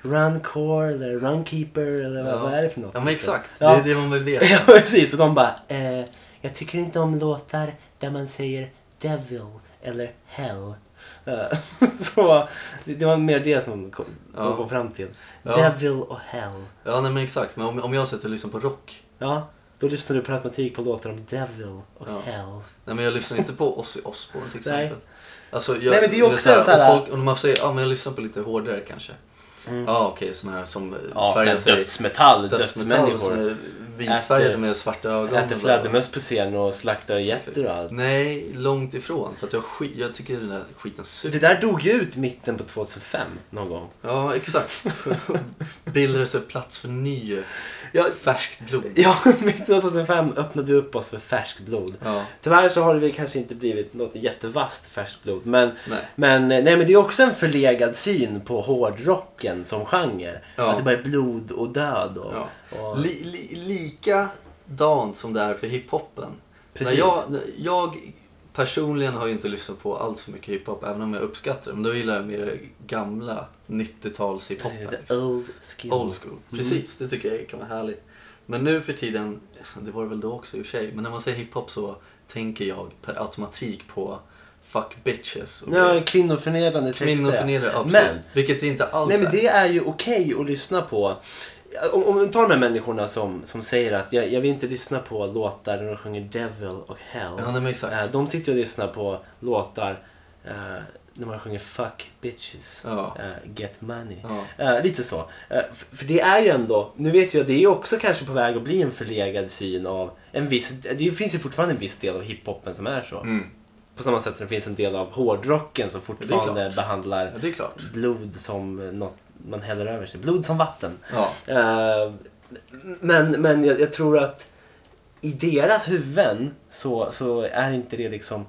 [SPEAKER 1] runcore eller runkeeper eller vad,
[SPEAKER 2] Ja.
[SPEAKER 1] vad är det för något?
[SPEAKER 2] Ja men exakt,
[SPEAKER 1] Ja.
[SPEAKER 2] det är det man vill veta.
[SPEAKER 1] Ja precis, och de bara eh, Jag tycker inte om låtar där man säger devil eller hell. Eh, Så det det var mer det som kom,
[SPEAKER 2] Ja.
[SPEAKER 1] de kom fram till.
[SPEAKER 2] Ja.
[SPEAKER 1] Devil och hell.
[SPEAKER 2] Ja nej men exakt, men om, om jag sätter och lyssnar på rock.
[SPEAKER 1] Ja, då lyssnar du på automatik på låtar om devil och
[SPEAKER 2] Ja.
[SPEAKER 1] hell.
[SPEAKER 2] Nej men jag lyssnar inte på Ozzy Osbourne till
[SPEAKER 1] Nej.
[SPEAKER 2] exempel. Alltså, jag,
[SPEAKER 1] Nej, men det är ju
[SPEAKER 2] du vet
[SPEAKER 1] också en sån här- Mm.
[SPEAKER 2] Och folk, och man säger, ja men jag lyssnar på lite hårdare kanske. Ja okej, såna här som eh,
[SPEAKER 1] Ja,
[SPEAKER 2] färgar
[SPEAKER 1] sån här dödsmetall,
[SPEAKER 2] Dödsmetall som
[SPEAKER 1] dödsmänniskor.
[SPEAKER 2] är vitfärgade
[SPEAKER 1] Äter-
[SPEAKER 2] med svarta ögon.
[SPEAKER 1] Äter
[SPEAKER 2] och-
[SPEAKER 1] fladdermöss på scen och slaktar getter och allt.
[SPEAKER 2] Nej, långt ifrån. För att jag, skit, jag tycker den där skiten
[SPEAKER 1] Det
[SPEAKER 2] suger.
[SPEAKER 1] där dog ju ut mitten på 2005 någon gång.
[SPEAKER 2] Ja, exakt. Bildar det sig plats för ny
[SPEAKER 1] Ja,
[SPEAKER 2] färskt blod.
[SPEAKER 1] ja, mitten av 2005 öppnade vi upp oss för färskt blod.
[SPEAKER 2] Ja,
[SPEAKER 1] Tyvärr så har det väl kanske inte blivit något jättevast färskt blod. Men,
[SPEAKER 2] nej.
[SPEAKER 1] men, eh, nej, men det är också en förlegad syn på hårdrocken som genre.
[SPEAKER 2] Ja.
[SPEAKER 1] Att det bara är blod och död. Och,
[SPEAKER 2] Ja.
[SPEAKER 1] och,
[SPEAKER 2] Li, li, lika som det är för hiphopen.
[SPEAKER 1] Precis.
[SPEAKER 2] När jag, när jag personligen har jag inte lyssnat på allt för mycket hiphop, även om jag uppskattar det. Men då gillar jag mer gamla liksom. 90-tals hiphop.
[SPEAKER 1] Precis, the old school.
[SPEAKER 2] Old school. Precis, det tycker jag kan vara härligt. Men nu för tiden, det var det väl då också i och för sig, men när man säger hiphop så tänker jag per automatik på fuck bitches. Och
[SPEAKER 1] Ja, kvinnoförnedrande texter.
[SPEAKER 2] Kvinnoförnedrande, ja,
[SPEAKER 1] Men,
[SPEAKER 2] precis. Vilket det inte alls
[SPEAKER 1] nej men
[SPEAKER 2] är.
[SPEAKER 1] det är ju okej att lyssna på. Om, om du tar de här människorna som, som säger att jag, jag vill inte lyssna på låtar där de sjunger devil och hell.
[SPEAKER 2] Ja, nej, men exakt.
[SPEAKER 1] Eh, De sitter och lyssnar på låtar eh, när man sjunger fuck bitches,
[SPEAKER 2] Ja.
[SPEAKER 1] eh, get money.
[SPEAKER 2] Ja.
[SPEAKER 1] Eh, lite så. Eh, f- för det är ju ändå, nu vet jag, det är ju också kanske på väg att bli en förlegad syn av en viss, det finns ju fortfarande en viss del av hiphopen som är så.
[SPEAKER 2] Mm.
[SPEAKER 1] På samma sätt som det finns en del av hårdrocken som fortfarande behandlar
[SPEAKER 2] Ja, det är klart.
[SPEAKER 1] blod som något man häller över sig. Blod som vatten.
[SPEAKER 2] Ja.
[SPEAKER 1] Eh, men men jag, jag tror att i deras huvuden så, så är inte det liksom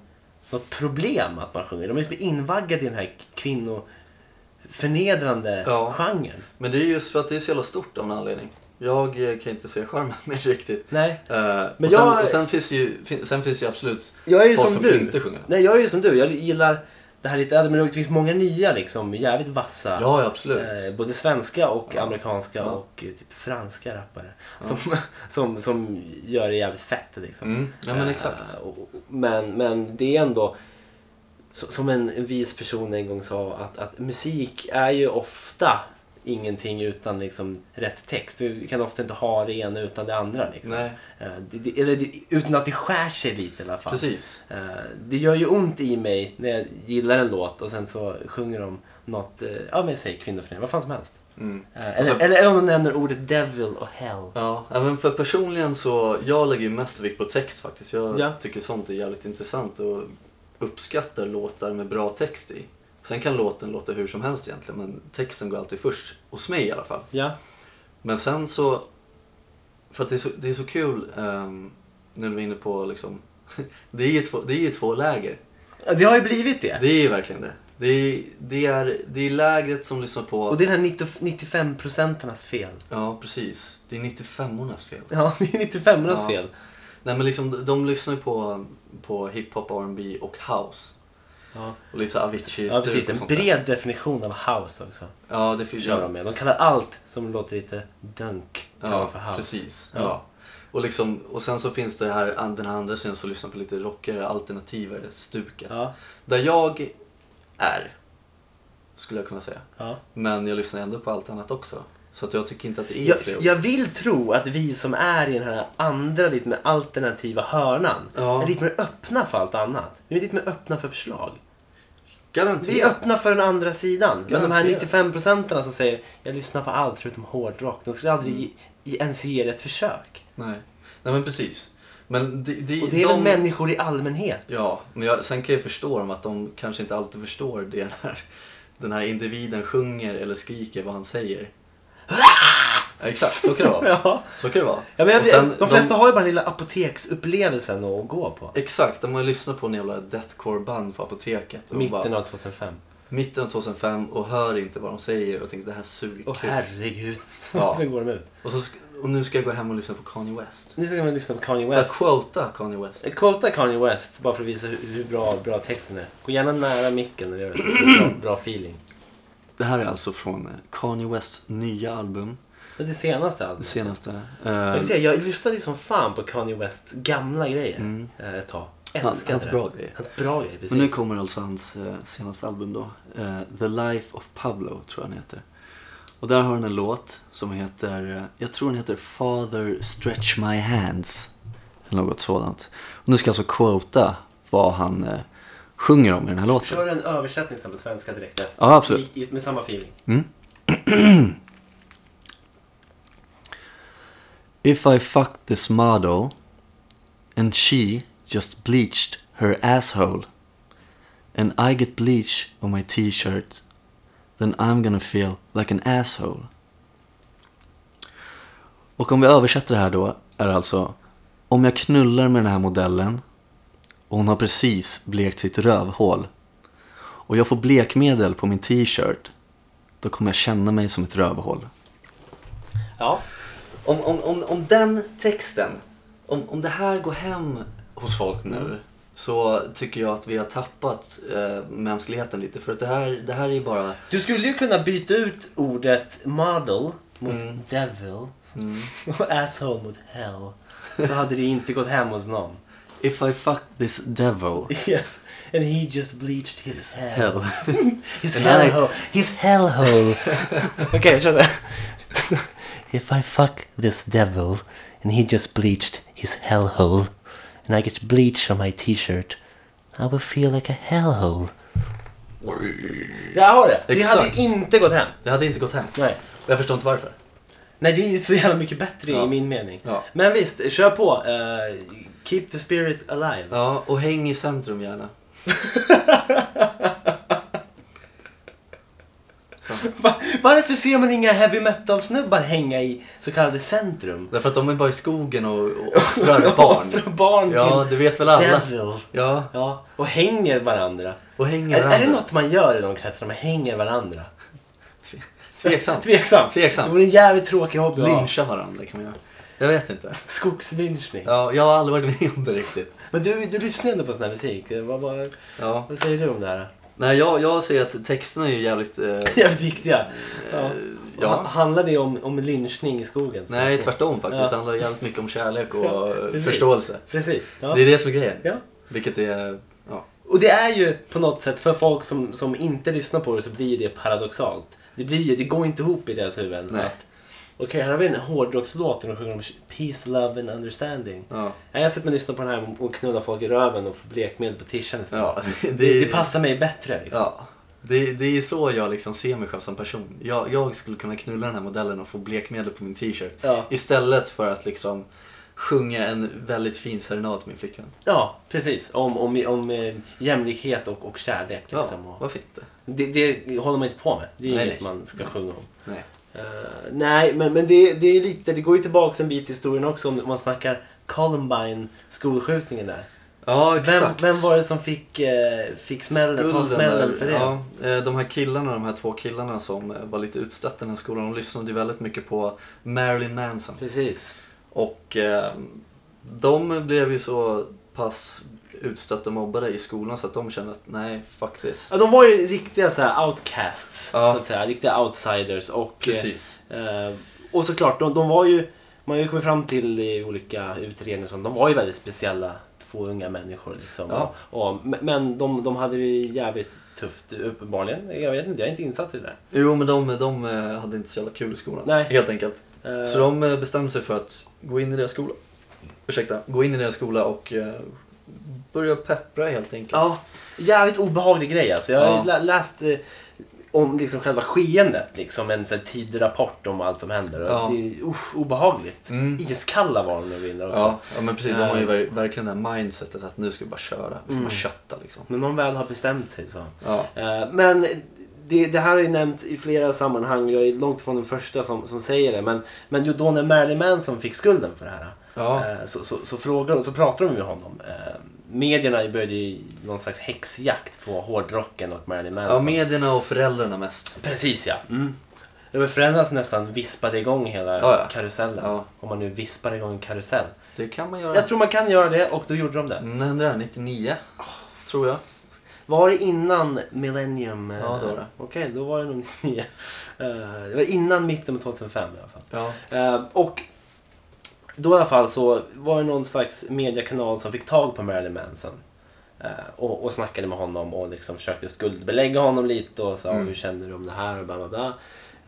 [SPEAKER 1] något problem att man sjunger. De är liksom invaggade i den här kvinnoförnedrande
[SPEAKER 2] Ja.
[SPEAKER 1] genren.
[SPEAKER 2] Men det är just för att det är så jävla stort av en anledning. Jag eh, kan inte se charmen med det riktigt.
[SPEAKER 1] Nej,
[SPEAKER 2] Eh,
[SPEAKER 1] Men
[SPEAKER 2] och, sen,
[SPEAKER 1] jag-
[SPEAKER 2] och sen finns ju, fin- sen finns ju absolut
[SPEAKER 1] jag är ju
[SPEAKER 2] folk
[SPEAKER 1] som,
[SPEAKER 2] som
[SPEAKER 1] du.
[SPEAKER 2] inte sjunger.
[SPEAKER 1] Nej, jag är ju som du. Jag gillar det här lite äldre, men det finns många nya liksom jävligt vassa.
[SPEAKER 2] Ja, ja, absolut.
[SPEAKER 1] Eh, både svenska och
[SPEAKER 2] Ja.
[SPEAKER 1] amerikanska
[SPEAKER 2] Ja.
[SPEAKER 1] och eh, typ franska rappare. Som, som, som gör det jävligt fett liksom.
[SPEAKER 2] Mm. Ja, men
[SPEAKER 1] Eh,
[SPEAKER 2] exakt.
[SPEAKER 1] och- och- men, men det är ändå så- som en en vis person en gång sa att, att musik är ju ofta ingenting utan liksom rätt text. Du kan ofta inte ha det ena utan det andra. Liksom.
[SPEAKER 2] Nej,
[SPEAKER 1] Eh, Det, det, eller det, utan att det skär sig lite i alla fall.
[SPEAKER 2] precis.
[SPEAKER 1] Eh, Det gör ju ont i mig när jag gillar en låt och sen så sjunger de något, eh, ja men säg kvinnoförnedring, vad fan som helst.
[SPEAKER 2] Mm.
[SPEAKER 1] Eh, Eller,
[SPEAKER 2] Alltså-
[SPEAKER 1] eller, eller om de nämner ordet devil och hell.
[SPEAKER 2] Ja, även för personligen så, jag lägger ju mest vikt på text faktiskt. Jag
[SPEAKER 1] Ja.
[SPEAKER 2] tycker sånt är jävligt intressant och uppskattar låtar med bra text i. Sen kan låten låta hur som helst egentligen, men texten går alltid först. Hos mig i alla fall.
[SPEAKER 1] Ja.
[SPEAKER 2] Men sen så, för att det är så, det är så kul ehm, nu när vi är inne på liksom, det är ju två, det är ju två läger.
[SPEAKER 1] Ja, Det har ju blivit det.
[SPEAKER 2] Det är ju verkligen det. Det är, det är, det är lägret som lyssnar på...
[SPEAKER 1] Och det är den här 90, 95 procenternas fel.
[SPEAKER 2] Ja, precis. Det är 95ornas fel.
[SPEAKER 1] Ja, det är 95
[SPEAKER 2] Ja.
[SPEAKER 1] fel.
[SPEAKER 2] Nej men liksom, de- de lyssnar ju på, på hiphop, R&B och house.
[SPEAKER 1] Ja,
[SPEAKER 2] Och lite så Avicii,
[SPEAKER 1] ja
[SPEAKER 2] Sturk
[SPEAKER 1] precis.
[SPEAKER 2] och
[SPEAKER 1] En
[SPEAKER 2] sånt där.
[SPEAKER 1] bred definition av house också.
[SPEAKER 2] Ja, det finns
[SPEAKER 1] Kör de med. De kallar allt som låter lite dunk kallar de
[SPEAKER 2] Ja,
[SPEAKER 1] för house.
[SPEAKER 2] precis.
[SPEAKER 1] Ja.
[SPEAKER 2] Ja. Och, liksom, och sen så finns det här, an- den här andra sidan som lyssnar på lite rockigare, alternativare stuket.
[SPEAKER 1] Ja,
[SPEAKER 2] Där jag är, skulle jag kunna säga.
[SPEAKER 1] ja.
[SPEAKER 2] Men jag lyssnar ändå på allt annat också. Så att jag tycker inte att det är
[SPEAKER 1] Jag,
[SPEAKER 2] fler
[SPEAKER 1] jag vill tro att vi som är i den här andra lite mer alternativa hörnan
[SPEAKER 2] Ja.
[SPEAKER 1] är lite mer öppna för allt annat. Vi är lite mer öppna för förslag. Vi är
[SPEAKER 2] Garanterat.
[SPEAKER 1] öppna för den andra sidan. Men de här
[SPEAKER 2] Garanterat.
[SPEAKER 1] 95 procenten som säger jag lyssnar på allt förutom hårdrock. De skulle
[SPEAKER 2] Mm.
[SPEAKER 1] aldrig ge- ens ge det ett försök.
[SPEAKER 2] Nej. Nej men precis. Men det, det,
[SPEAKER 1] Och det är väl
[SPEAKER 2] de-
[SPEAKER 1] människor i allmänhet?
[SPEAKER 2] Ja, men jag, sen kan jag förstå dem att de kanske inte alltid förstår det den här, den här individen sjunger eller skriker vad han säger. Ja, Exakt, så kan det vara.
[SPEAKER 1] Ja.
[SPEAKER 2] Så kan det vara.
[SPEAKER 1] Ja, men jag,
[SPEAKER 2] Och sen
[SPEAKER 1] de flesta har ju bara den lilla apoteksupplevelsen att gå på.
[SPEAKER 2] Exakt, de har ju lyssnat på en jävla deathcore-band på apoteket. Och
[SPEAKER 1] Mitten
[SPEAKER 2] bara,
[SPEAKER 1] av 2005.
[SPEAKER 2] mitten av 2005 och hör inte vad de säger och tänker det här suger
[SPEAKER 1] Åh
[SPEAKER 2] kul.
[SPEAKER 1] herregud.
[SPEAKER 2] Ja.
[SPEAKER 1] Sen går de ut.
[SPEAKER 2] Och, så, sk- och nu ska jag gå hem och lyssna på Kanye West.
[SPEAKER 1] Nu ska man lyssna på Kanye
[SPEAKER 2] För att
[SPEAKER 1] West.
[SPEAKER 2] quota Kanye West.
[SPEAKER 1] Quota Kanye West bara för att visa hur, hur bra, bra texten är. Gå gärna nära micken när du gör det. så får du Bra, bra feeling.
[SPEAKER 2] Det här är alltså från eh, Kanye Wests nya album.
[SPEAKER 1] Det är det senaste albumet.
[SPEAKER 2] Det senaste.
[SPEAKER 1] Jag,
[SPEAKER 2] Eh,
[SPEAKER 1] vill säga, jag lyssnade ju som fan på Kanye Wests gamla grejer
[SPEAKER 2] Mm.
[SPEAKER 1] eh, ett tag.
[SPEAKER 2] hans,
[SPEAKER 1] Älskade
[SPEAKER 2] hans
[SPEAKER 1] det.
[SPEAKER 2] bra grejer.
[SPEAKER 1] Hans bra grejer, precis.
[SPEAKER 2] Men nu kommer alltså hans eh, senaste album då. Eh, The Life of Pablo, tror jag den heter. Och där har han en låt som heter, eh, jag tror den heter Father Stretch My Hands. Eller något sådant. Och nu ska jag alltså quota vad han eh, sjunger om i den här låten.
[SPEAKER 1] Kör en översättning sen på svenska direkt efter.
[SPEAKER 2] Ja, absolut.
[SPEAKER 1] I, i, med samma feeling.
[SPEAKER 2] If I fucked this model and she just bleached her asshole and I get bleach on my t-shirt then I'm gonna feel like an asshole. Och om vi översätter det här då är det alltså om jag knullar med den här modellen och hon har precis blekt sitt rövhål och jag får blekmedel på min t-shirt då kommer jag känna mig som ett rövhål.
[SPEAKER 1] Ja.
[SPEAKER 2] Om, om, om, om den texten, om, om det här går hem hos folk nu så tycker jag att vi har tappat eh, mänskligheten lite. För att det här, det här är ju bara...
[SPEAKER 1] Du skulle ju kunna byta ut ordet model mot
[SPEAKER 2] Mm.
[SPEAKER 1] devil och asshole mot hell. Så hade det inte gått hem hos någon.
[SPEAKER 2] If I fuck this devil,
[SPEAKER 1] Yes, and he just bleached his hell.
[SPEAKER 2] hell.
[SPEAKER 1] His
[SPEAKER 2] And
[SPEAKER 1] hell
[SPEAKER 2] I-
[SPEAKER 1] hole. His hell hole. Okej, okay, kör det. If I fuck this devil and he just bleached his hell hole and I get bleach on my t-shirt I will feel like a hell hole. Jag har det. Det hade
[SPEAKER 2] Exakt.
[SPEAKER 1] ju inte gått hem.
[SPEAKER 2] Det hade inte gått hem.
[SPEAKER 1] Nej.
[SPEAKER 2] Jag förstår inte varför.
[SPEAKER 1] Nej, det är ju så jävla mycket bättre
[SPEAKER 2] Ja.
[SPEAKER 1] i min mening.
[SPEAKER 2] Ja.
[SPEAKER 1] Men visst, kör på. Eh, keep the spirit alive.
[SPEAKER 2] Ja, och häng i centrum gärna.
[SPEAKER 1] Va- Varför ser man inga heavy metal-snubbar hänga i så kallade centrum?
[SPEAKER 2] Därför att de är bara i skogen och, och offrar barn.
[SPEAKER 1] Offra barn
[SPEAKER 2] Ja,
[SPEAKER 1] till
[SPEAKER 2] det vet väl alla.
[SPEAKER 1] devil.
[SPEAKER 2] Ja,
[SPEAKER 1] Ja, och hänger varandra.
[SPEAKER 2] och hänger
[SPEAKER 1] Är, är det
[SPEAKER 2] varandra.
[SPEAKER 1] något man gör i de kretsarna? Man hänger varandra?
[SPEAKER 2] Tveksamt.
[SPEAKER 1] Tveksamt. Det
[SPEAKER 2] Tveksamt.
[SPEAKER 1] vore en jävligt tråkig hobby att ha.
[SPEAKER 2] Lyncha varandra kan man göra. Jag vet inte.
[SPEAKER 1] Skogslynchning.
[SPEAKER 2] Ja, jag har aldrig varit med om det riktigt.
[SPEAKER 1] Men du, du lyssnar ändå på sån här musik. Eh, Vad, vad,
[SPEAKER 2] Ja.
[SPEAKER 1] vad säger du om det här?
[SPEAKER 2] Nej, jag, jag ser att texterna är ju jävligt... Eh,
[SPEAKER 1] Jävligt viktiga. Ja.
[SPEAKER 2] eh,
[SPEAKER 1] Ja.
[SPEAKER 2] ja.
[SPEAKER 1] Handlar det om, om lynchning i skogen? så?
[SPEAKER 2] Nej, tvärtom faktiskt.
[SPEAKER 1] Ja.
[SPEAKER 2] Det handlar jävligt mycket om kärlek och
[SPEAKER 1] Ja,
[SPEAKER 2] eh,
[SPEAKER 1] precis.
[SPEAKER 2] förståelse.
[SPEAKER 1] Precis. Ja.
[SPEAKER 2] Det är det som är grejen.
[SPEAKER 1] Ja.
[SPEAKER 2] Vilket är... Ja.
[SPEAKER 1] Och det är ju på något sätt för folk som, som inte lyssnar på det så blir det paradoxalt. Det, blir ju, det går inte ihop i deras huvuden.
[SPEAKER 2] Nej.
[SPEAKER 1] att, Okej, här har vi en hårdrockslåt där de sjunger om peace, love and understanding.
[SPEAKER 2] ja.
[SPEAKER 1] Nej, Jag sätter mig och lyssnar på den här och knullar folk i röven och får blekmedel på tishan istället.
[SPEAKER 2] ja.
[SPEAKER 1] Det, det passar mig bättre. Liksom.
[SPEAKER 2] Ja. Det, det är så jag liksom ser mig själv som person. Jag, jag skulle kunna knulla den här modellen och få blekmedel på min t-shirt.
[SPEAKER 1] Ja.
[SPEAKER 2] Istället för att liksom sjunga en väldigt fin serenad till min flickvän.
[SPEAKER 1] Ja, precis. Om, om, om eh, jämlikhet och, och kärlek.
[SPEAKER 2] Ja,
[SPEAKER 1] Liksom. Och
[SPEAKER 2] varför inte?
[SPEAKER 1] det, det håller man inte på med. Det är
[SPEAKER 2] Nej,
[SPEAKER 1] inget
[SPEAKER 2] nej.
[SPEAKER 1] man ska sjunga om.
[SPEAKER 2] Nej.
[SPEAKER 1] Eh, nej, men, men det, det, är lite, det går ju tillbaka en bit i historien också om man snackar Columbine, skolskjutningen där.
[SPEAKER 2] Ja,
[SPEAKER 1] Vem,
[SPEAKER 2] exakt.
[SPEAKER 1] vem var det som fick, eh, fick smällen, ta
[SPEAKER 2] Skulden
[SPEAKER 1] smällen
[SPEAKER 2] där,
[SPEAKER 1] för det?
[SPEAKER 2] Ja, eh, de här killarna, de här två killarna som eh, var lite utstötta i den här skolan, de lyssnade ju väldigt mycket på Marilyn Manson.
[SPEAKER 1] Precis.
[SPEAKER 2] Och eh, de blev ju så pass utstötta och mobbade i skolan så att de kände att nej, fuck this.
[SPEAKER 1] Ja, de var ju riktiga så här, outcasts,
[SPEAKER 2] Ja.
[SPEAKER 1] så att säga. Riktiga outsiders. Och, eh,
[SPEAKER 2] Precis.
[SPEAKER 1] Eh, och såklart, de, de var ju, man har ju kommit fram till i olika utredningar, och sånt, de var ju väldigt speciella två unga människor. Liksom.
[SPEAKER 2] Ja.
[SPEAKER 1] Och, och- men de, de hade det ju jävligt tufft uppenbarligen. Jag vet inte, jag är inte insatt i det där.
[SPEAKER 2] Jo, men de, de eh, hade inte så jävla kul i skolan.
[SPEAKER 1] Nej.
[SPEAKER 2] Helt enkelt.
[SPEAKER 1] Eh,
[SPEAKER 2] Så de eh, bestämde sig för att gå in i deras skola. Ursäkta, gå in i deras skola och eh, börja peppra helt enkelt.
[SPEAKER 1] Ja, jävligt obehaglig grej alltså. Jag har ju
[SPEAKER 2] Ja.
[SPEAKER 1] lä- läst eh, om liksom själva skeendet, liksom, en sån här tidrapport om allt som händer. Och
[SPEAKER 2] Ja.
[SPEAKER 1] Det är usch, obehagligt.
[SPEAKER 2] Mm.
[SPEAKER 1] Iskalla var de när vi var inne också.
[SPEAKER 2] Ja, ja men precis. De har ju
[SPEAKER 1] Eh. Mm.
[SPEAKER 2] ver- verkligen det här mindsetet att nu ska vi bara köra. Vi ska bara kötta liksom.
[SPEAKER 1] Men någon väl har bestämt sig så.
[SPEAKER 2] Ja.
[SPEAKER 1] Eh, Men det, det här har ju nämnts i flera sammanhang. Jag är långt från den första som, som säger det. Men, men ju då när Marilyn Manson fick skulden för det här.
[SPEAKER 2] Ja.
[SPEAKER 1] eh, Så, så, så, frågade, så pratade de med honom. Eh, Medierna började ju någon slags häxjakt på hårdrocken och Marilyn Manson.
[SPEAKER 2] ja, medierna och föräldrarna mest.
[SPEAKER 1] Precis ja. Mm. Det var föräldrarna som nästan vispade igång hela
[SPEAKER 2] Ja, ja.
[SPEAKER 1] karusellen.
[SPEAKER 2] Ja.
[SPEAKER 1] Om man nu vispar igång en karusell.
[SPEAKER 2] Det kan man göra.
[SPEAKER 1] Jag tror man kan göra det och då gjorde de det.
[SPEAKER 2] Mm, när hände det? 99? Tror jag.
[SPEAKER 1] Var det innan Millennium? eh,
[SPEAKER 2] Ja, det var det.
[SPEAKER 1] Okej, då var det nog 99. Eh, Det var innan mitten av 2005 i alla fall.
[SPEAKER 2] Ja.
[SPEAKER 1] Eh, Och då i alla fall så var det någon slags mediekanal som fick tag på Marilyn Manson. eh, Och, och snackade med honom och liksom försökte skuldbelägga honom lite och sa
[SPEAKER 2] Mm.
[SPEAKER 1] hur känner du om det här och bla bla bla.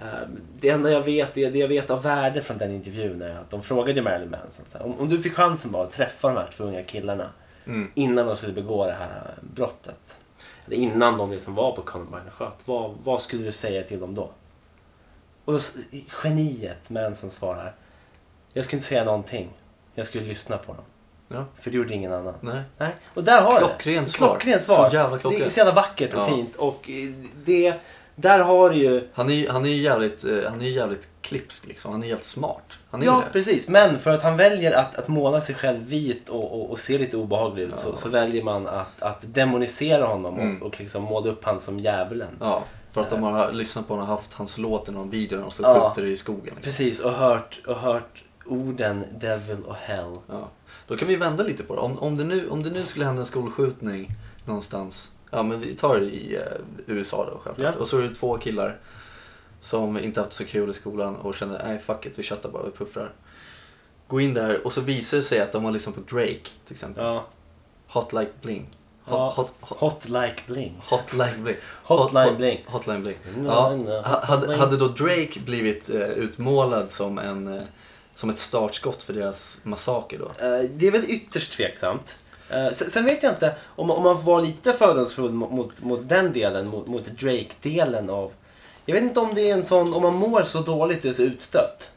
[SPEAKER 1] Eh, Det enda jag vet, det, det jag vet av värde från den intervjun är att de frågade ju Marilyn Manson. Så här, om, om du fick chansen bara att träffa de här två unga killarna
[SPEAKER 2] Mm.
[SPEAKER 1] innan de skulle begå det här brottet. Eller innan de liksom var på Columbine och sköt. Vad, vad skulle du säga till dem då? Och då, s- geniet Manson svarar. Jag skulle inte säga någonting. Jag skulle lyssna på dem.
[SPEAKER 2] Ja.
[SPEAKER 1] För det gjorde ingen annan.
[SPEAKER 2] Nej.
[SPEAKER 1] Nej. Och där har
[SPEAKER 2] Klockrent
[SPEAKER 1] det.
[SPEAKER 2] svar.
[SPEAKER 1] Klockrent svar.
[SPEAKER 2] Så jävla klockrent.
[SPEAKER 1] Det är så jävla vackert och
[SPEAKER 2] Ja.
[SPEAKER 1] fint. Och eh, det, där har du ju...
[SPEAKER 2] Han är ju han är ju jävligt, eh, han är ju jävligt klipsk liksom. Han är jävligt smart. Han är
[SPEAKER 1] Ja,
[SPEAKER 2] ju det.
[SPEAKER 1] precis. Men för att han väljer att, att måla sig själv vit och, och, och se lite obehaglig ut så,
[SPEAKER 2] Ja.
[SPEAKER 1] så väljer man att, att demonisera honom
[SPEAKER 2] Mm.
[SPEAKER 1] och, och liksom måla upp han som djävulen.
[SPEAKER 2] Ja, för att de har lyssnat på honom och haft hans låt i någon video när de står
[SPEAKER 1] Eh. Ja.
[SPEAKER 2] skjuter i skogen. Liksom.
[SPEAKER 1] Precis, och hört, och hört orden devil och hell.
[SPEAKER 2] Ja. Då kan vi vända lite på det. Om, om, det nu, om det nu skulle hända en skolskjutning någonstans, ja men vi tar det i eh, USA då självklart,
[SPEAKER 1] Ja.
[SPEAKER 2] och så är det två killar som inte haft så kul i skolan och känner nej fuck it, vi chattar bara, vi puffrar. Gå in där och så visar det sig att de har lyssnat på Drake till exempel.
[SPEAKER 1] Ja.
[SPEAKER 2] Hot like bling. Hot,
[SPEAKER 1] Ja.
[SPEAKER 2] hot, hot,
[SPEAKER 1] Hot like bling.
[SPEAKER 2] hot like bling.
[SPEAKER 1] Hotline
[SPEAKER 2] hot-
[SPEAKER 1] bling.
[SPEAKER 2] Hotline bling.
[SPEAKER 1] Mm,
[SPEAKER 2] Ja,
[SPEAKER 1] mm, ja.
[SPEAKER 2] ha- hade,
[SPEAKER 1] Hotline-
[SPEAKER 2] hade då Drake blivit eh, utmålad som, en, eh, som ett startskott för deras massaker då?
[SPEAKER 1] Eh, det är väl ytterst tveksamt. Eh, sen, sen vet jag inte, om, man- om man var lite fördomsfull mot, mot, mot den delen, mot, mot Drake-delen av... Jag vet inte om det är en sån, om man mår så dåligt och är så utstött.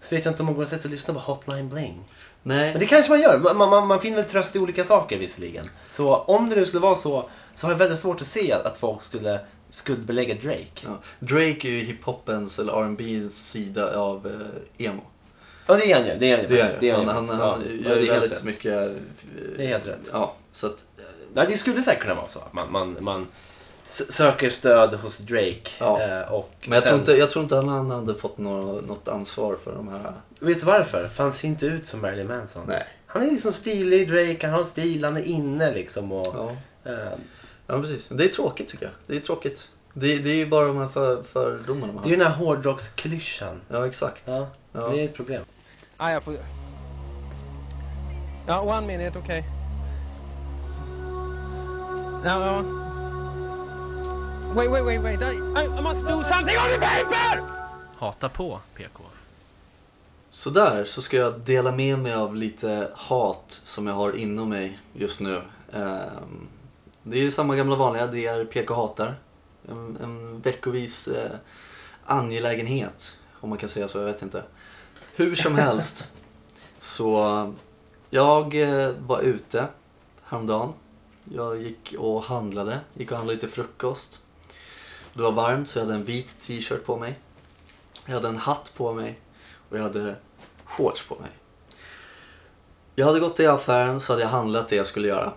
[SPEAKER 1] Så vet jag inte om man går och sätter sig och lyssnar på Hotline Bling. Men
[SPEAKER 2] Nej,
[SPEAKER 1] det kanske man gör, man, man, man finner väl tröst i olika saker visserligen. Så om det nu skulle vara så, så har jag väldigt svårt att se att, att folk skulle skuldbelägga Drake.
[SPEAKER 2] ja. Drake är ju hiphopens eller R&B's sida av eh, emo.
[SPEAKER 1] Ja det är han ju, det är han ju
[SPEAKER 2] Det är
[SPEAKER 1] faktiskt.
[SPEAKER 2] ju.
[SPEAKER 1] är
[SPEAKER 2] Han,
[SPEAKER 1] ju
[SPEAKER 2] han,
[SPEAKER 1] faktiskt.
[SPEAKER 2] han
[SPEAKER 1] Ja,
[SPEAKER 2] gör
[SPEAKER 1] det
[SPEAKER 2] ju
[SPEAKER 1] är helt
[SPEAKER 2] väldigt
[SPEAKER 1] rätt.
[SPEAKER 2] mycket... eh,
[SPEAKER 1] Det är helt rätt.
[SPEAKER 2] Ja, så att... eh,
[SPEAKER 1] Nej, det skulle säkert kunna vara så. Att man, man, man s- söker stöd hos Drake.
[SPEAKER 2] Ja.
[SPEAKER 1] eh, Och
[SPEAKER 2] Men jag,
[SPEAKER 1] sen,
[SPEAKER 2] tror inte, jag tror inte han hade fått några, något ansvar för de här...
[SPEAKER 1] Vet du varför? För han ser inte ut som Marilyn Manson.
[SPEAKER 2] Nej.
[SPEAKER 1] Han är liksom stilig Drake, han har en stil, han är inne liksom. Och,
[SPEAKER 2] Ja.
[SPEAKER 1] eh,
[SPEAKER 2] ja, precis. Det är tråkigt tycker jag. Det är tråkigt. Det, det är ju bara de här för, fördomarna man
[SPEAKER 1] det är ju
[SPEAKER 2] har.
[SPEAKER 1] den här hårdrocksklyschan.
[SPEAKER 2] Ja, exakt.
[SPEAKER 1] Ja,
[SPEAKER 2] Ja.
[SPEAKER 1] Det är ett problem.
[SPEAKER 3] Ah, jag får... Ja, one minute, okej. Ja, ja. Wait, wait, wait, wait. I, I must do something on the paper!
[SPEAKER 1] Hata på PK.
[SPEAKER 2] Sådär, så ska jag dela med mig av lite hat som jag har inom mig just nu. Ehm, Det är ju samma gamla vanliga, det är PK hatar. En, en veckovis eh, angelägenhet, om man kan säga så, jag vet inte. Hur som helst, så jag eh, var ute häromdagen. Jag gick och handlade, gick och handlade lite frukost. Det var varmt så jag hade en vit t-shirt på mig. Jag hade en hatt på mig och jag hade shorts på mig. Jag hade gått till affären så hade jag handlat det jag skulle göra.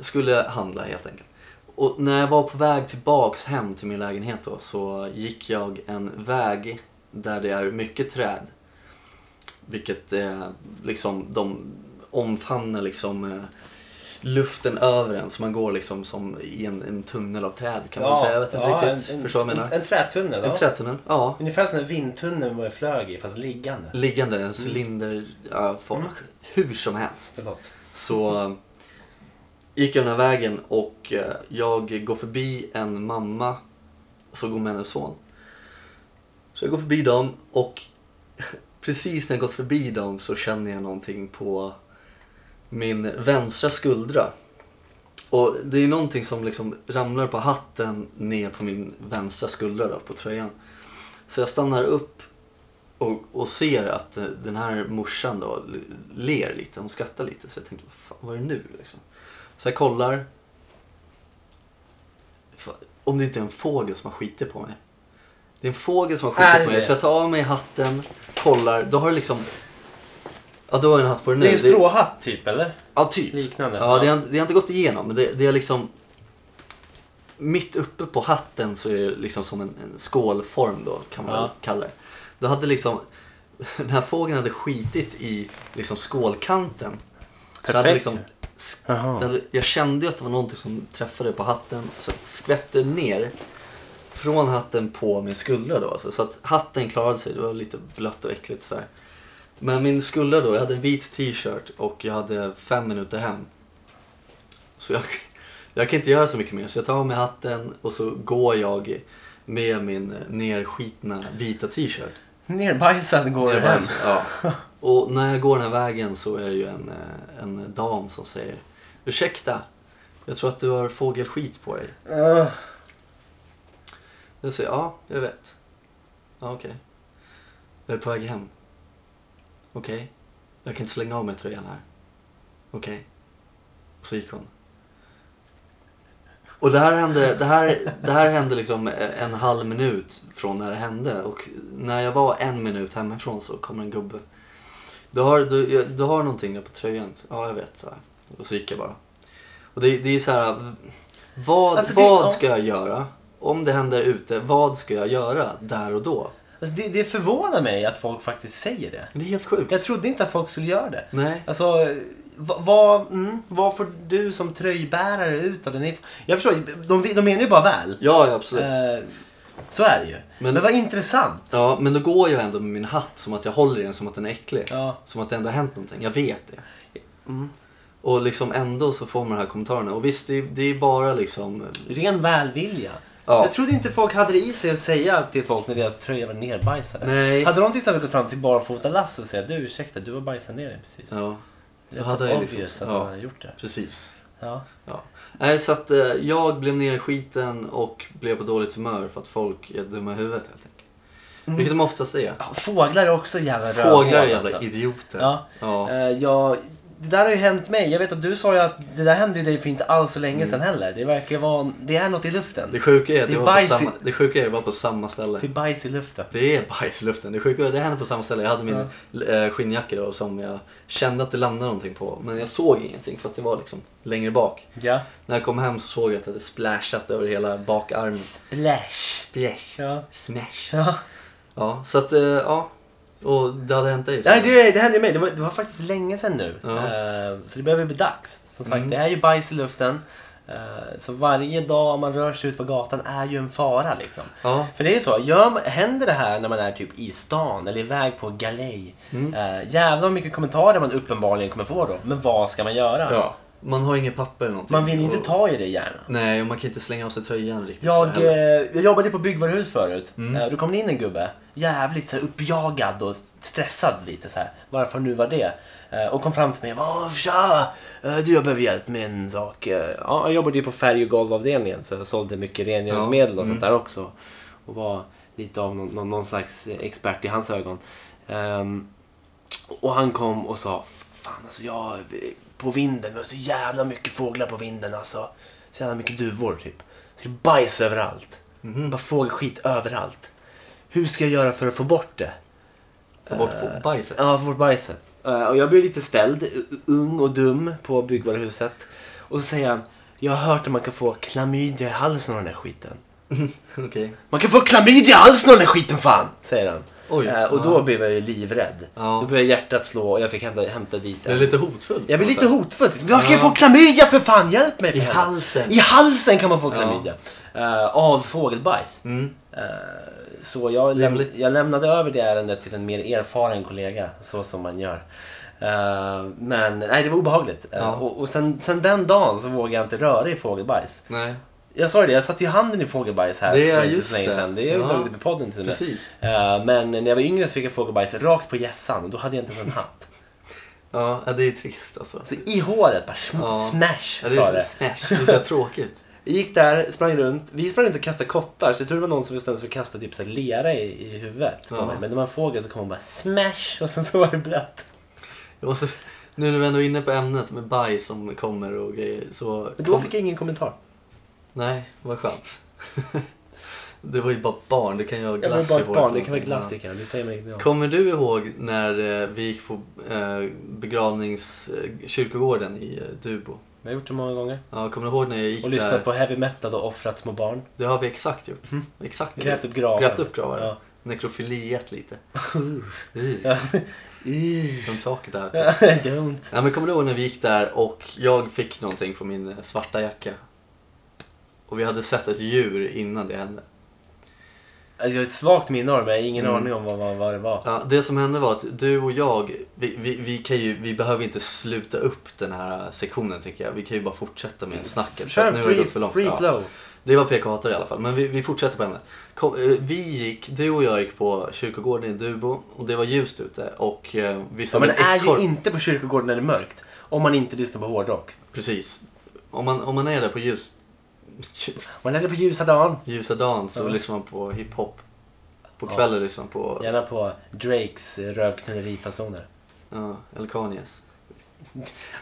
[SPEAKER 2] Skulle handla helt enkelt. Och när jag var på väg tillbaks hem till min lägenhet då så gick jag en väg där det är mycket träd. Vilket eh, liksom, de omfamnar liksom eh, luften över en. Så man går liksom som i en, en tunnel av träd kan man säga. Jag vet inte riktigt.
[SPEAKER 1] En, en,
[SPEAKER 2] Förstår du vad jag
[SPEAKER 1] en,
[SPEAKER 2] menar?
[SPEAKER 1] en trätunnel.
[SPEAKER 2] En
[SPEAKER 1] va?
[SPEAKER 2] trätunnel, ja.
[SPEAKER 1] Ungefär som en vindtunnel man flög i, fast liggande.
[SPEAKER 2] Liggande, en cylinder, ja, form, hur som helst.
[SPEAKER 1] Förlåt.
[SPEAKER 2] Så eh, gick jag den här vägen och eh, jag går förbi en mamma som går med hennes son. Så jag går förbi dem och precis när jag gått förbi dem så känner jag någonting på min vänstra skuldra. Och det är någonting som liksom ramlar på hatten ner på min vänstra skuldra då, på tröjan. Så jag stannar upp och, och ser att eh, den här morsan då l- ler lite, hon skrattar lite. Så jag tänkte, vad fan vad är det nu liksom? Så jag kollar. Fa- Om det inte är en fågel som har skitit på mig. Det är en fågel som har
[SPEAKER 1] Är
[SPEAKER 2] skitit
[SPEAKER 1] det
[SPEAKER 2] på mig.
[SPEAKER 1] det?
[SPEAKER 2] Så jag tar av mig hatten, kollar. Då har det liksom... Ja, då har jag en hatt på dig nu.
[SPEAKER 1] Det är en stråhatt typ, eller?
[SPEAKER 2] Ja, typ.
[SPEAKER 1] Liknande.
[SPEAKER 2] Ja, det har, det har inte gått igenom, men det, det är liksom... Mitt uppe på hatten så är det liksom som en, en skålform då, kan man
[SPEAKER 1] Ja.
[SPEAKER 2] väl kalla det. Då hade liksom... Den här fågeln hade skitit i liksom skålkanten. Så jag hade
[SPEAKER 1] Perfekt
[SPEAKER 2] liksom,
[SPEAKER 1] ju.
[SPEAKER 2] sk-
[SPEAKER 1] Jaha.
[SPEAKER 2] jag, hade, jag kände ju att det var någonting som träffade på hatten, så jag skvätte ner från hatten på min skuldra då. Alltså, så att hatten klarade sig, det var lite blött och äckligt så här. Men min skuldra då, jag hade en vit t-shirt och jag hade fem minuter hem. Så jag, jag kan inte göra så mycket mer. Så jag tar av mig hatten och så går jag med min nerskitna vita t-shirt.
[SPEAKER 1] Nerbajsad går du hem.
[SPEAKER 2] Ja. Och när jag går den här vägen så är det ju en, eh, en dam som säger Ursäkta, jag tror att du har fågelskit på dig.
[SPEAKER 1] Ugh.
[SPEAKER 2] Jag säger ja, jag vet. Ja, okej. Jag är på väg hem. Okej. Jag kan inte slänga av mig tröjan här. Okej. Och så gick hon. Och det här hände, det här, det här hände liksom en halv minut från när det hände. Och när jag var en minut hemifrån så kom en gubbe. Du har, du, du har någonting där på tröjan. Ja, jag vet. Så här. Och så gick jag bara. Och det, det är så här. Vad,
[SPEAKER 1] Alltså, det-
[SPEAKER 2] vad
[SPEAKER 1] ja.
[SPEAKER 2] ska jag göra? Om det händer ute, vad ska jag göra där och då?
[SPEAKER 1] Alltså, det, det förvånar mig att folk faktiskt säger det.
[SPEAKER 2] Det är helt sjukt.
[SPEAKER 1] Jag trodde inte att folk skulle göra det.
[SPEAKER 2] Nej.
[SPEAKER 1] Alltså, va- vad, mm, vad får du som tröjbärare ut av den? inf- Jag förstår, de, de menar ju bara väl.
[SPEAKER 2] Ja, ja, absolut.
[SPEAKER 1] Eh, så är det ju. Men,
[SPEAKER 2] Men-
[SPEAKER 1] vad intressant.
[SPEAKER 2] Ja, men då går jag ändå med min hatt som att jag håller i den som att den är äcklig.
[SPEAKER 1] Ja. Mm.
[SPEAKER 2] Som att det ändå har hänt någonting. Jag vet det. Och liksom ändå så får man de här kommentarerna. Och visst, det är, det är bara liksom...
[SPEAKER 1] Ren välvilja.
[SPEAKER 2] Ja.
[SPEAKER 1] Jag trodde inte folk hade det i sig att säga till folk när deras tröja var nerbajsade.
[SPEAKER 2] Nej.
[SPEAKER 1] Hade de till exempel gått fram till barfota Lasse och säga du ursäkta, du har bajsat ner dig precis.
[SPEAKER 2] Ja.
[SPEAKER 1] Det
[SPEAKER 2] Så
[SPEAKER 1] är
[SPEAKER 2] hade
[SPEAKER 1] så
[SPEAKER 2] jag
[SPEAKER 1] obvious
[SPEAKER 2] liksom...
[SPEAKER 1] att han
[SPEAKER 2] Ja,
[SPEAKER 1] hade gjort det.
[SPEAKER 2] precis.
[SPEAKER 1] Ja.
[SPEAKER 2] Ja. Nej, så att eh, jag blev ner i skiten och blev på dåligt humör för att folk är dumma i huvudet helt enkelt. Vilket de oftast är.
[SPEAKER 1] Ja, Fåglar är också jävla Mm. rövhål,
[SPEAKER 2] Fåglar är jävla
[SPEAKER 1] alltså.
[SPEAKER 2] idioter.
[SPEAKER 1] Ja.
[SPEAKER 2] Ja.
[SPEAKER 1] Eh, jag, det där har ju hänt mig. Jag vet att du sa ju att det där hände ju dig för inte alls så länge sedan heller. Det verkar vara, det är något i luften.
[SPEAKER 2] Det sjuka är att
[SPEAKER 1] Mm. Det är
[SPEAKER 2] det var på
[SPEAKER 1] bajs i-
[SPEAKER 2] samma, det sjuka är att det var på samma ställe.
[SPEAKER 1] Det är bajs i luften.
[SPEAKER 2] Det är bajs i luften. Det sjuka är att det hände på samma ställe. Jag hade min eh, skinnjacka då som jag kände att det landade någonting på. Men jag såg ingenting för att det var liksom längre bak.
[SPEAKER 1] Ja.
[SPEAKER 2] När jag kom hem så såg jag att det hade splashat över hela bakarmen.
[SPEAKER 1] Splash.
[SPEAKER 2] Splash.
[SPEAKER 1] Ja.
[SPEAKER 2] Smash.
[SPEAKER 1] Ja.
[SPEAKER 2] Ja, så att eh, ja. Och det hade hänt dig. så-
[SPEAKER 1] Nej, det, det hände ju mig. Det var, det var faktiskt länge sedan nu.
[SPEAKER 2] Ja.
[SPEAKER 1] Eh, så det börjar bli dags. Som sagt,
[SPEAKER 2] Mm.
[SPEAKER 1] det är ju bajs i luften. Eh, så varje dag man rör sig ut på gatan är ju en fara liksom.
[SPEAKER 2] Ja.
[SPEAKER 1] För det är ju så, gör, händer det här när man är typ i stan eller iväg på galej. Eh, jävlar vad mycket kommentarer man uppenbarligen kommer få då. Men vad ska man göra?
[SPEAKER 2] ja. Man har inget papper eller någonting.
[SPEAKER 1] Man vill ju inte
[SPEAKER 2] Och-
[SPEAKER 1] ta i det gärna.
[SPEAKER 2] Nej, och man kan inte slänga av sig tröjan riktigt. så
[SPEAKER 1] Jag, eh,
[SPEAKER 2] heller.
[SPEAKER 1] jag jobbade på byggvaruhus förut. Eh, då kom det in en gubbe. Jävligt så här, uppjagad och stressad lite så här. Varför nu var det? Eh, och kom fram till mig och bara “Tja! eh, Du, jag behöver hjälp med en sak. Eh, Ja, jag jobbade ju på färg och golvavdelningen så jag sålde mycket rengöringsmedel och sånt där också. Och var lite av någon, någon, någon slags expert i hans ögon. Ehm, och han kom och sa Fan alltså jag på vinden, vi har så jävla mycket fåglar på vinden alltså. Så jävla mycket duvor typ. Så det är bajs överallt. Bara fågelskit överallt. Hur ska jag göra för att få bort det?
[SPEAKER 2] Få bort få- bajset.
[SPEAKER 1] Ja, få bort bajset. Eh, och jag blev lite ställd, u- ung och dum på byggvaruhuset. Och så säger han, jag har hört att man kan få klamydia i halsen av den här skiten.
[SPEAKER 2] Okej.
[SPEAKER 1] Man kan få klamydia i halsen av den här skiten fan! Säger han.
[SPEAKER 2] Oj,
[SPEAKER 1] Eh, och då
[SPEAKER 2] ja.
[SPEAKER 1] blev jag ju livrädd.
[SPEAKER 2] Ja.
[SPEAKER 1] Då började hjärtat slå och jag fick hämta, hämta dit
[SPEAKER 2] Det är
[SPEAKER 1] en-
[SPEAKER 2] lite hotfullt.
[SPEAKER 1] jag blir lite hotfull. Liksom. Jag kan ju
[SPEAKER 2] Ja.
[SPEAKER 1] få klamydia för fan, hjälp mig! för
[SPEAKER 2] I
[SPEAKER 1] helvete.
[SPEAKER 2] halsen.
[SPEAKER 1] I halsen kan man få
[SPEAKER 2] Ja.
[SPEAKER 1] klamydia. eh, av fågelbajs.
[SPEAKER 2] Mm.
[SPEAKER 1] Eh, så jag, läm-
[SPEAKER 2] Rimligt.
[SPEAKER 1] jag lämnade över det ärendet till en mer erfaren kollega, så som man gör. Eh, men nej, det var obehagligt. Eh,
[SPEAKER 2] Ja.
[SPEAKER 1] och och sen, sen den dagen så vågade jag inte röra i fågelbajs.
[SPEAKER 2] Nej.
[SPEAKER 1] Jag sa ju det, jag satte ju handen i fågelbajs här
[SPEAKER 2] Det är
[SPEAKER 1] för inte
[SPEAKER 2] just
[SPEAKER 1] så länge
[SPEAKER 2] det.
[SPEAKER 1] sedan. Det har
[SPEAKER 2] Ja.
[SPEAKER 1] jag tagit upp i podden till och med.
[SPEAKER 2] Precis.
[SPEAKER 1] Eh, men när jag var yngre så fick jag fågelbajs rakt på hjässan och då hade jag inte ens en hatt.
[SPEAKER 2] Ja, ja, det är trist alltså.
[SPEAKER 1] Så i håret bara sm-
[SPEAKER 2] Ja.
[SPEAKER 1] smash
[SPEAKER 2] Ja, det
[SPEAKER 1] sa
[SPEAKER 2] är
[SPEAKER 1] det.
[SPEAKER 2] så smash. Det är så här tråkigt.
[SPEAKER 1] Jag gick där, sprang runt. Vi sprang runt och kastade kottar så jag tror det var någon som bestämde sig för att kasta typ så här lera i, i huvudet på
[SPEAKER 2] Ja.
[SPEAKER 1] mig. Men när man fågel så kom man bara smash och sen så var det blött.
[SPEAKER 2] Jag måste, nu när vi ändå är inne på ämnet med bajs som kommer och grejer så...
[SPEAKER 1] Men då fick jag ingen kommentar.
[SPEAKER 2] Nej, vad skönt. det var ju bara barn, det kan ju ha
[SPEAKER 1] Jag var
[SPEAKER 2] glass
[SPEAKER 1] bara
[SPEAKER 2] i
[SPEAKER 1] ett
[SPEAKER 2] håret
[SPEAKER 1] barn,
[SPEAKER 2] eller
[SPEAKER 1] det kan vara
[SPEAKER 2] någonting. Ja.
[SPEAKER 1] glassiker. Det säger mig inte jag.
[SPEAKER 2] Kommer du ihåg när eh, vi gick på eh, begravningskyrkogården eh, kyrkogården i eh, Dubo?
[SPEAKER 1] Jag har gjort det många gånger.
[SPEAKER 2] Ja, kommer du ihåg när jag gick
[SPEAKER 1] Och
[SPEAKER 2] där?
[SPEAKER 1] lyssnat på heavy metal och offrat små barn.
[SPEAKER 2] Det har vi exakt gjort. Exakt det.
[SPEAKER 1] Grävt upp gravar.
[SPEAKER 2] Grävt upp gravar.
[SPEAKER 1] Ja.
[SPEAKER 2] Nekrofiliet lite.
[SPEAKER 1] Ja.
[SPEAKER 2] Uh. Don't talk about it.
[SPEAKER 1] Don't.
[SPEAKER 2] Nej, men kommer du ihåg när vi gick där och jag fick någonting på min eh, svarta jacka? Och vi hade sett ett djur innan det hände.
[SPEAKER 1] Alltså, jag har ett svagt minne av det men jag har ingen
[SPEAKER 2] Mm.
[SPEAKER 1] aning om vad, vad, vad det var.
[SPEAKER 2] Ja, det som hände var att du och jag, vi, vi, vi, kan ju, vi behöver inte sluta upp den här sektionen tycker jag. Vi kan ju bara fortsätta med snacket. för
[SPEAKER 1] Kör
[SPEAKER 2] att
[SPEAKER 1] en
[SPEAKER 2] nu har det
[SPEAKER 1] free,
[SPEAKER 2] gått för långt.
[SPEAKER 1] free
[SPEAKER 2] Ja.
[SPEAKER 1] flow.
[SPEAKER 2] Det var PK hatar i alla fall, men vi, vi fortsätter på ämnet. Kom, eh, vi gick, du och jag gick på kyrkogården i Dubo och det var ljust ute och eh, vi
[SPEAKER 1] Ja,
[SPEAKER 2] såg
[SPEAKER 1] men
[SPEAKER 2] en
[SPEAKER 1] det är
[SPEAKER 2] ekorre-
[SPEAKER 1] ju inte på kyrkogården när det är mörkt. Om man inte lyssnar på hårdrock.
[SPEAKER 2] Precis. Om man, om man är där på ljus, ljus,
[SPEAKER 1] Man är det på ljusa dagen.
[SPEAKER 2] ljusa dagen så
[SPEAKER 1] Ja.
[SPEAKER 2] lyssnar man på hiphop. På kvällen lyssnar man på ja.
[SPEAKER 1] Gärna på Drakes rövknullerifasoner.
[SPEAKER 2] eller Kanyes.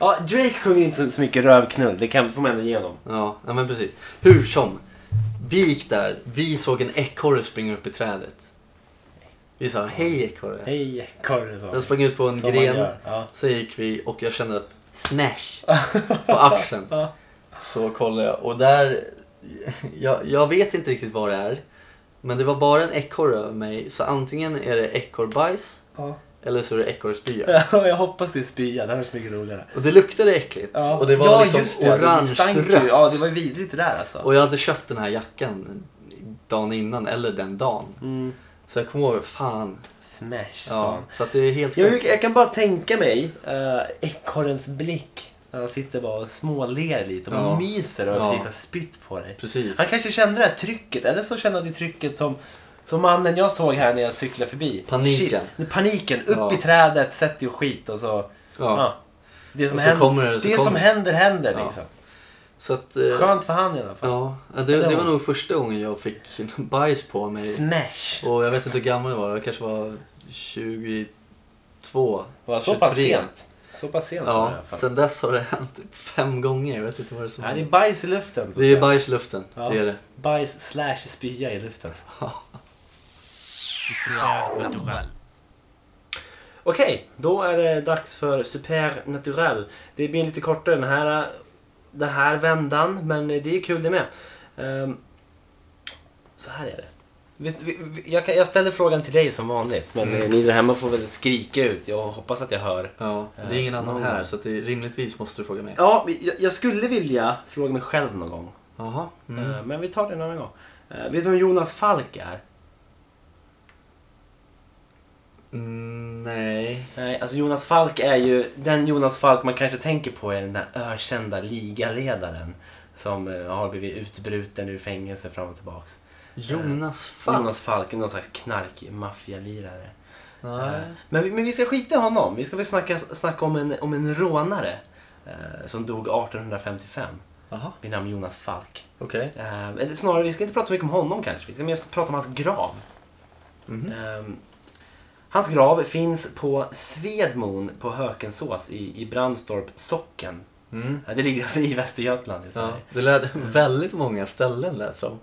[SPEAKER 1] Ja, Drake sjunger inte så- så mycket rövknull. Det kan, får man ändå ge honom.
[SPEAKER 2] Ja, ja, men precis. Hur som. Vi gick där, vi såg en ekorre springa upp i trädet. Vi sa hej ekorre.
[SPEAKER 1] Hej ekorre sa
[SPEAKER 2] Den sprang ut på en
[SPEAKER 1] Som man
[SPEAKER 2] gren.
[SPEAKER 1] gör, ja.
[SPEAKER 2] Så gick vi och jag kände att smash på axeln. Så kollade jag och där, jag, jag vet inte riktigt vad det är. Men det var bara en ekorre över mig, så antingen är det ekorrbajs
[SPEAKER 1] Ja.
[SPEAKER 2] eller så är det ekorrspya.
[SPEAKER 1] Ja, jag hoppas det är spya. Det här är så mycket roligare.
[SPEAKER 2] Och det luktade äckligt
[SPEAKER 1] Ja.
[SPEAKER 2] och det var
[SPEAKER 1] ja, just
[SPEAKER 2] liksom
[SPEAKER 1] det. Det
[SPEAKER 2] orange
[SPEAKER 1] stank ju.
[SPEAKER 2] rött.
[SPEAKER 1] Ja, det var ju vidrigt det där alltså.
[SPEAKER 2] Och jag hade köpt den här jackan dagen innan eller den dagen.
[SPEAKER 1] Mm.
[SPEAKER 2] Så jag kommer ihåg, fan.
[SPEAKER 1] Smash sa
[SPEAKER 2] Ja,
[SPEAKER 1] han.
[SPEAKER 2] så att det är helt
[SPEAKER 1] Jag, jag kan bara tänka mig eh, ekorrens blick när han sitter bara och småler lite och
[SPEAKER 2] Ja.
[SPEAKER 1] myser och
[SPEAKER 2] Ja.
[SPEAKER 1] precis har spytt på dig.
[SPEAKER 2] Precis.
[SPEAKER 1] Han kanske kände det här trycket, eller så kände han det trycket som, som mannen jag såg här när jag cyklade förbi.
[SPEAKER 2] Paniken.
[SPEAKER 1] Shit, paniken, upp
[SPEAKER 2] Ja.
[SPEAKER 1] i trädet, sätt dig och skit och så... Ja.
[SPEAKER 2] Ja.
[SPEAKER 1] Det som,
[SPEAKER 2] Och så
[SPEAKER 1] händer,
[SPEAKER 2] kommer det, så
[SPEAKER 1] det som
[SPEAKER 2] kommer det.
[SPEAKER 1] händer händer
[SPEAKER 2] Ja.
[SPEAKER 1] liksom.
[SPEAKER 2] Så att, eh,
[SPEAKER 1] Skönt för han i alla fall.
[SPEAKER 2] ja, det, det var nog första gången jag fick bajs på mig.
[SPEAKER 1] Smash!
[SPEAKER 2] Och jag vet inte hur gammal jag var, jag kanske var 22.
[SPEAKER 1] Var så pass
[SPEAKER 2] 23.
[SPEAKER 1] sent? Så pass sent var det i
[SPEAKER 2] Ja,
[SPEAKER 1] alla fall.
[SPEAKER 2] sen dess har det hänt typ fem gånger. Jag vet inte vad det är som
[SPEAKER 1] Ja, det är bajs i luften. så
[SPEAKER 2] Det
[SPEAKER 1] att
[SPEAKER 2] är
[SPEAKER 1] säga.
[SPEAKER 2] bajs i luften,
[SPEAKER 1] Ja.
[SPEAKER 2] det är det.
[SPEAKER 1] Bajs slash spya i luften. Okej, då är det dags för Supernatural. Det blir lite kortare den här, den här vändan, men det är kul det med. Ehm, så här är det. Vet- vi- vi- Jag, kan, jag ställer frågan till dig som vanligt, men eh, ni där hemma får väl skrika ut. Jag hoppas att jag hör.
[SPEAKER 2] Ja, det är ingen annan
[SPEAKER 1] någon-
[SPEAKER 2] här så att det, rimligtvis måste du fråga mig.
[SPEAKER 1] Eh, Ja, jag, jag skulle vilja fråga mig själv någon gång.
[SPEAKER 2] Jaha. Mm.
[SPEAKER 1] Eh, Men vi tar det en annan gång. Eh, Vet du vem Jonas Falk är?
[SPEAKER 2] Mm, nej.
[SPEAKER 1] Nej, alltså Jonas Falk är ju den Jonas Falk man kanske tänker på är den där ökända ligaledaren som eh, har blivit utbruten ur fängelse fram och tillbaks.
[SPEAKER 2] Jonas Falk?
[SPEAKER 1] Eh, Jonas Falk är någon slags knark-maffialirare. Eh,
[SPEAKER 2] Nej.
[SPEAKER 1] Men, vi- men vi ska skita i honom. Vi ska väl snacka, snacka om, en, om en rånare eh, som dog 1855
[SPEAKER 2] Jaha,
[SPEAKER 1] vid namn Jonas Falk.
[SPEAKER 2] okej.
[SPEAKER 1] Eh, eller snarare, vi ska inte prata så mycket om honom kanske. Vi ska mer prata om hans grav.
[SPEAKER 2] Mhm.
[SPEAKER 1] Ehm, hans grav finns på Svedmon på Hökensås i, i Brandstorp socken.
[SPEAKER 2] Mm.
[SPEAKER 1] Ja, Det ligger alltså i Västergötland. i
[SPEAKER 2] Ja,
[SPEAKER 1] Sverige.
[SPEAKER 2] det lät väldigt många ställen lät som.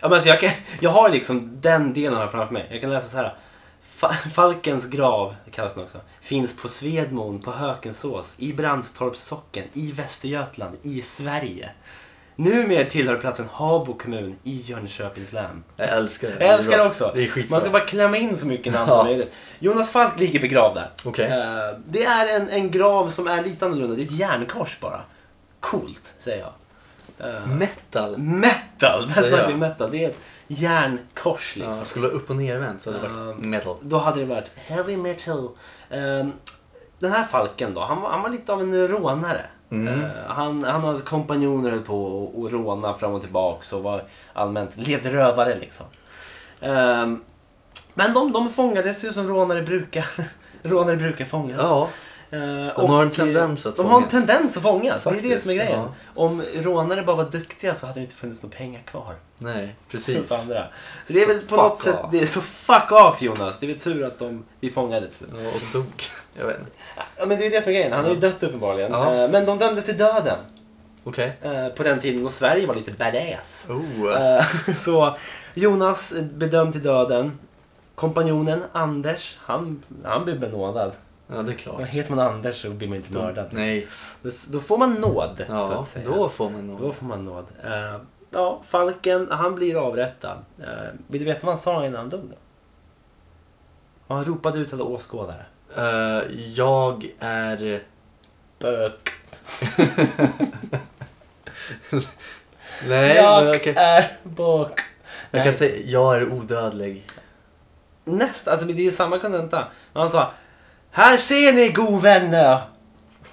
[SPEAKER 1] Ja, men alltså jag, kan, jag har liksom den delen här framför mig. Jag kan läsa så här. Fa- Falkens grav, det kallas den också, finns på Svedmon på Hökensås i Brandstorps socken i Västergötland i Sverige. Numera tillhör platsen Habo kommun i Jönköpings län.
[SPEAKER 2] Jag älskar det.
[SPEAKER 1] Jag älskar
[SPEAKER 2] är
[SPEAKER 1] det
[SPEAKER 2] bra.
[SPEAKER 1] också.
[SPEAKER 2] Det är skitbra.
[SPEAKER 1] Man ska bara klämma in så mycket namn
[SPEAKER 2] Ja.
[SPEAKER 1] som möjligt. Jonas Falk ligger begravd där.
[SPEAKER 2] Okej.
[SPEAKER 1] Eh, Det är en, en grav som är lite annorlunda. Det är ett järnkors bara. Coolt, säger jag. Eh,
[SPEAKER 2] Metal.
[SPEAKER 1] Metal! Där
[SPEAKER 2] Säger
[SPEAKER 1] snackar vi
[SPEAKER 2] jag.
[SPEAKER 1] metal. Det är ett järnkors liksom.
[SPEAKER 2] Ja, skulle vara upp och nervänt så hade det varit
[SPEAKER 1] Ja.
[SPEAKER 2] metal.
[SPEAKER 1] Då hade det varit heavy metal. Ehm, Den här Falken då, han var, han var lite av en rånare.
[SPEAKER 2] Mm.
[SPEAKER 1] Eh, han, han och hans kompanjoner höll på och, och råna fram och tillbaks och var allmänt, levde rövare liksom. Ehm, men de, de fångades ju som rånare brukar, rånare brukar fångas.
[SPEAKER 2] Ja,
[SPEAKER 1] Eh,
[SPEAKER 2] De har en tendens att
[SPEAKER 1] De har en
[SPEAKER 2] fångas.
[SPEAKER 1] tendens att fångas, det är det
[SPEAKER 2] Faktiskt,
[SPEAKER 1] som är grejen.
[SPEAKER 2] ja.
[SPEAKER 1] Om rånare bara var duktiga så hade det inte funnits några pengar kvar
[SPEAKER 2] nej,
[SPEAKER 1] hos
[SPEAKER 2] precis.
[SPEAKER 1] andra. Så det är
[SPEAKER 2] Så
[SPEAKER 1] väl på
[SPEAKER 2] fuck
[SPEAKER 1] något sätt,
[SPEAKER 2] off.
[SPEAKER 1] det är så fuck off Jonas. Det är väl tur att de, vi fångade till slut. Mm.
[SPEAKER 2] Ja, och dog. Jag vet inte.
[SPEAKER 1] Ja men det är ju det som är grejen, han har ju dött uppenbarligen.
[SPEAKER 2] Ja.
[SPEAKER 1] Eh, Men de dömdes till döden
[SPEAKER 2] Okej.
[SPEAKER 1] eh, på den tiden då Sverige var lite badass.
[SPEAKER 2] Oh.
[SPEAKER 1] Eh, Så Jonas bedömd till döden. Kompanjonen Anders, han, han blir benådad.
[SPEAKER 2] Ja, det är
[SPEAKER 1] Och
[SPEAKER 2] klart.
[SPEAKER 1] heter man Anders så blir man inte mördad.
[SPEAKER 2] Nej.
[SPEAKER 1] Då, då får man nåd, så
[SPEAKER 2] Ja,
[SPEAKER 1] att säga.
[SPEAKER 2] då får man
[SPEAKER 1] Då
[SPEAKER 2] nog.
[SPEAKER 1] får man nåd. Eh, ja, Falken, han blir avrättad. Eh, vill du veta vad han sa innan han dog då? Vad han ropade ut till alla åskådare.
[SPEAKER 2] Eh, jag är...
[SPEAKER 1] Bök.
[SPEAKER 2] Nej,
[SPEAKER 1] jag
[SPEAKER 2] men okej.
[SPEAKER 1] är bök.
[SPEAKER 2] Jag, kan
[SPEAKER 1] Nej,
[SPEAKER 2] tä- jag är odödlig.
[SPEAKER 1] Nästa, alltså det är samma kontenta. Men han sa Här ser ni god vänner.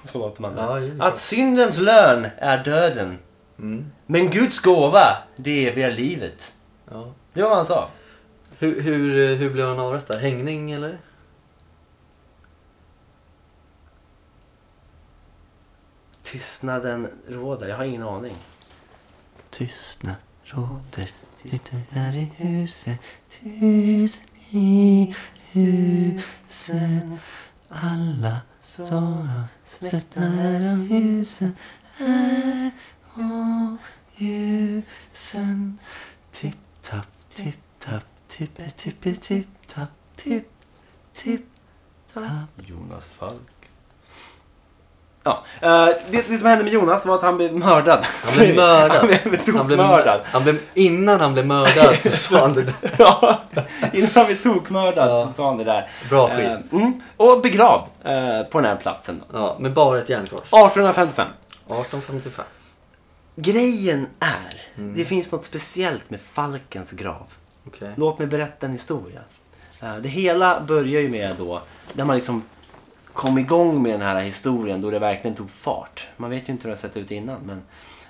[SPEAKER 1] Så låter man det.
[SPEAKER 2] Ja, det är så.
[SPEAKER 1] Att syndens lön är döden.
[SPEAKER 2] Mm.
[SPEAKER 1] Men Guds gåva, det eviga livet.
[SPEAKER 2] Ja.
[SPEAKER 1] Det var vad han sa.
[SPEAKER 2] Hur, hur, eh, hur blev han avrättad? Hängning eller?
[SPEAKER 1] Tystnaden råder, jag har ingen aning.
[SPEAKER 2] Tystnad råder. Sitter där i huset. Tyst i huset. Alla svarar. Sätta här om ljusen. Här om ljusen. Tipp-tapp, tipp-tapp, tippe-tippe-tipp-tapp, tipp-tipp-tapp.
[SPEAKER 1] Jonas Falk. Ja. Eh, det, det som hände med Jonas var att han blev mördad.
[SPEAKER 2] Han blev mördad.
[SPEAKER 1] Han blev
[SPEAKER 2] Han blev,
[SPEAKER 1] tokmördad.
[SPEAKER 2] han blev, innan han blev mördad så sa han det där.
[SPEAKER 1] Ja, innan han blev tokmördad så
[SPEAKER 2] Ja.
[SPEAKER 1] sa han det där.
[SPEAKER 2] Bra skit.
[SPEAKER 1] Eh, mm, och begravd eh, på den här platsen. då.
[SPEAKER 2] Ja, men bara ett järnkors.
[SPEAKER 1] 1855.
[SPEAKER 2] 1855.
[SPEAKER 1] Grejen är,
[SPEAKER 2] Mm.
[SPEAKER 1] det finns något speciellt med Falkens grav.
[SPEAKER 2] Okej.
[SPEAKER 1] Låt mig berätta en historia. Eh, Det hela börjar ju med då, när man liksom kom igång med den här historien då det verkligen tog fart. Man vet ju inte hur det har sett ut innan men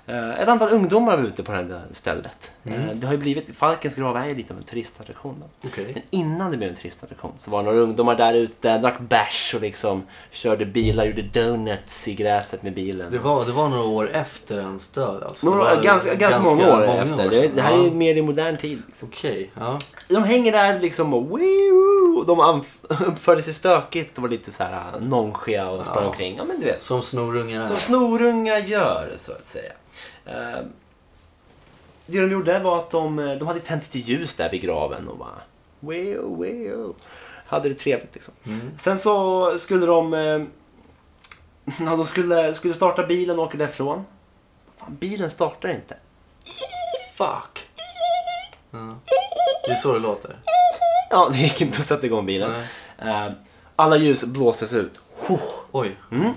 [SPEAKER 1] eh, ett antal ungdomar var ute på det här lilla stället. Eh,
[SPEAKER 2] Mm.
[SPEAKER 1] Det har ju blivit, Falkens grav är ju lite av en turistattraktion. Då.
[SPEAKER 2] Okej.
[SPEAKER 1] Men innan det blev en turistattraktion så var det några ungdomar där ute, drack bärs och liksom körde bilar, gjorde donuts i gräset med bilen.
[SPEAKER 2] Det, var, det var några år efter hans död alltså?
[SPEAKER 1] Några,
[SPEAKER 2] det var
[SPEAKER 1] ganska, ganska, många år efter. det,
[SPEAKER 2] sedan.
[SPEAKER 1] det här är ju
[SPEAKER 2] ja.
[SPEAKER 1] mer i modern tid. Liksom.
[SPEAKER 2] Okej, ja.
[SPEAKER 1] De hänger där liksom och wii-oo, och de anf- uppförde sig stökigt och var lite så här nonchia och sprang
[SPEAKER 2] Ja.
[SPEAKER 1] omkring. Ja men du vet.
[SPEAKER 2] Som snorungar
[SPEAKER 1] Som
[SPEAKER 2] är.
[SPEAKER 1] snorunga gör så att säga. Eh, Det de gjorde var att de, eh, de hade tänt lite ljus där vid graven och bara wii-oo, wii-oo. Hade det trevligt liksom. Sen så skulle de, eh, ja, de skulle, skulle starta bilen och åka därifrån. Fan, bilen startar inte.
[SPEAKER 2] Fuck! Ja. Det är så det låter.
[SPEAKER 1] Ja, det gick inte att sätta igång bilen. Eh, Alla ljus blåses ut. Huh.
[SPEAKER 2] Oj.
[SPEAKER 1] Mm.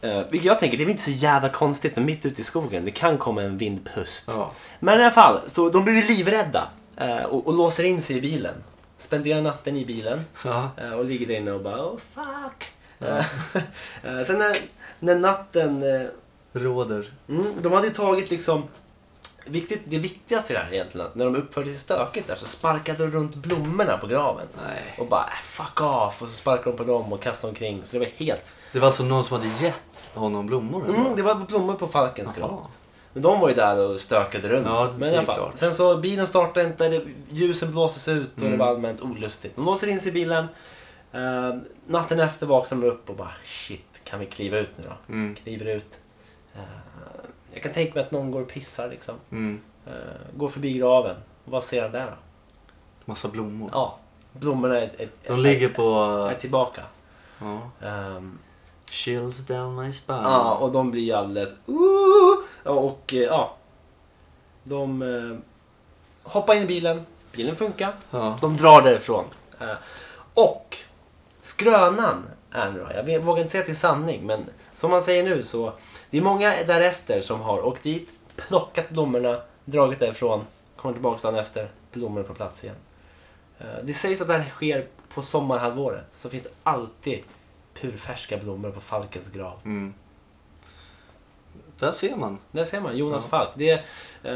[SPEAKER 1] Eh, vilket jag tänker, det är väl inte så jävla konstigt men mitt ute i skogen. Det kan komma en vindpust.
[SPEAKER 2] Ja.
[SPEAKER 1] Men i alla fall, så de blir ju livrädda eh, och, och låser in sig i bilen. Spenderar natten i bilen
[SPEAKER 2] Ja.
[SPEAKER 1] eh, och ligger där inne och bara oh fuck. Eh, eh, sen när, när natten eh,
[SPEAKER 2] Råder.
[SPEAKER 1] Mm, de hade ju tagit liksom... Viktigt, det viktigaste i det här egentligen, att när de uppförde sig stökigt där så sparkade de runt blommorna på graven.
[SPEAKER 2] Nej.
[SPEAKER 1] Och bara "Äh, fuck off och så sparkade de på dem och kastade omkring. Så det var helt...
[SPEAKER 2] Det var alltså någon som hade gett honom blommor? eller?
[SPEAKER 1] Mm, det var blommor på Falkens grav.
[SPEAKER 2] Jaha.
[SPEAKER 1] Men de var ju där och stökade runt.
[SPEAKER 2] Ja, det
[SPEAKER 1] Men i
[SPEAKER 2] är
[SPEAKER 1] alla fall.
[SPEAKER 2] klart.
[SPEAKER 1] Sen så bilen startade inte, det, ljusen blåses ut
[SPEAKER 2] Mm.
[SPEAKER 1] och det var allmänt olustigt. De låser in sig i bilen. Eh, natten efter vaknar de upp och bara shit, kan vi kliva ut nu då?
[SPEAKER 2] Mm.
[SPEAKER 1] Kliver ut. Eh, jag kan tänka mig att någon går och pissar liksom.
[SPEAKER 2] Mm.
[SPEAKER 1] Eh, går förbi graven. Och vad ser han där då?
[SPEAKER 2] Massa blommor.
[SPEAKER 1] Ja, blommorna är, är, är,
[SPEAKER 2] De ligger på...
[SPEAKER 1] är tillbaka.
[SPEAKER 2] Ja.
[SPEAKER 1] Ehm,
[SPEAKER 2] Chills down my spine.
[SPEAKER 1] Ja, och de blir alldeles... "Ooh!" Ja, och eh, ja. De eh, hoppar in i bilen. Bilen funkar.
[SPEAKER 2] Ja.
[SPEAKER 1] De drar därifrån. Eh, och skrönan är nu då, jag vet- vågar inte säga till sanning, men som man säger nu så. Det är många därefter som har åkt dit, plockat blommorna, dragit därifrån, kommer tillbaka dagen efter, blommor på plats igen. Eh, det sägs att det här sker på sommarhalvåret, så finns det alltid purfärska blommor på Falkens grav.
[SPEAKER 2] Mm. Där ser man.
[SPEAKER 1] Där ser man, Jonas
[SPEAKER 2] Ja.
[SPEAKER 1] Falk. Det är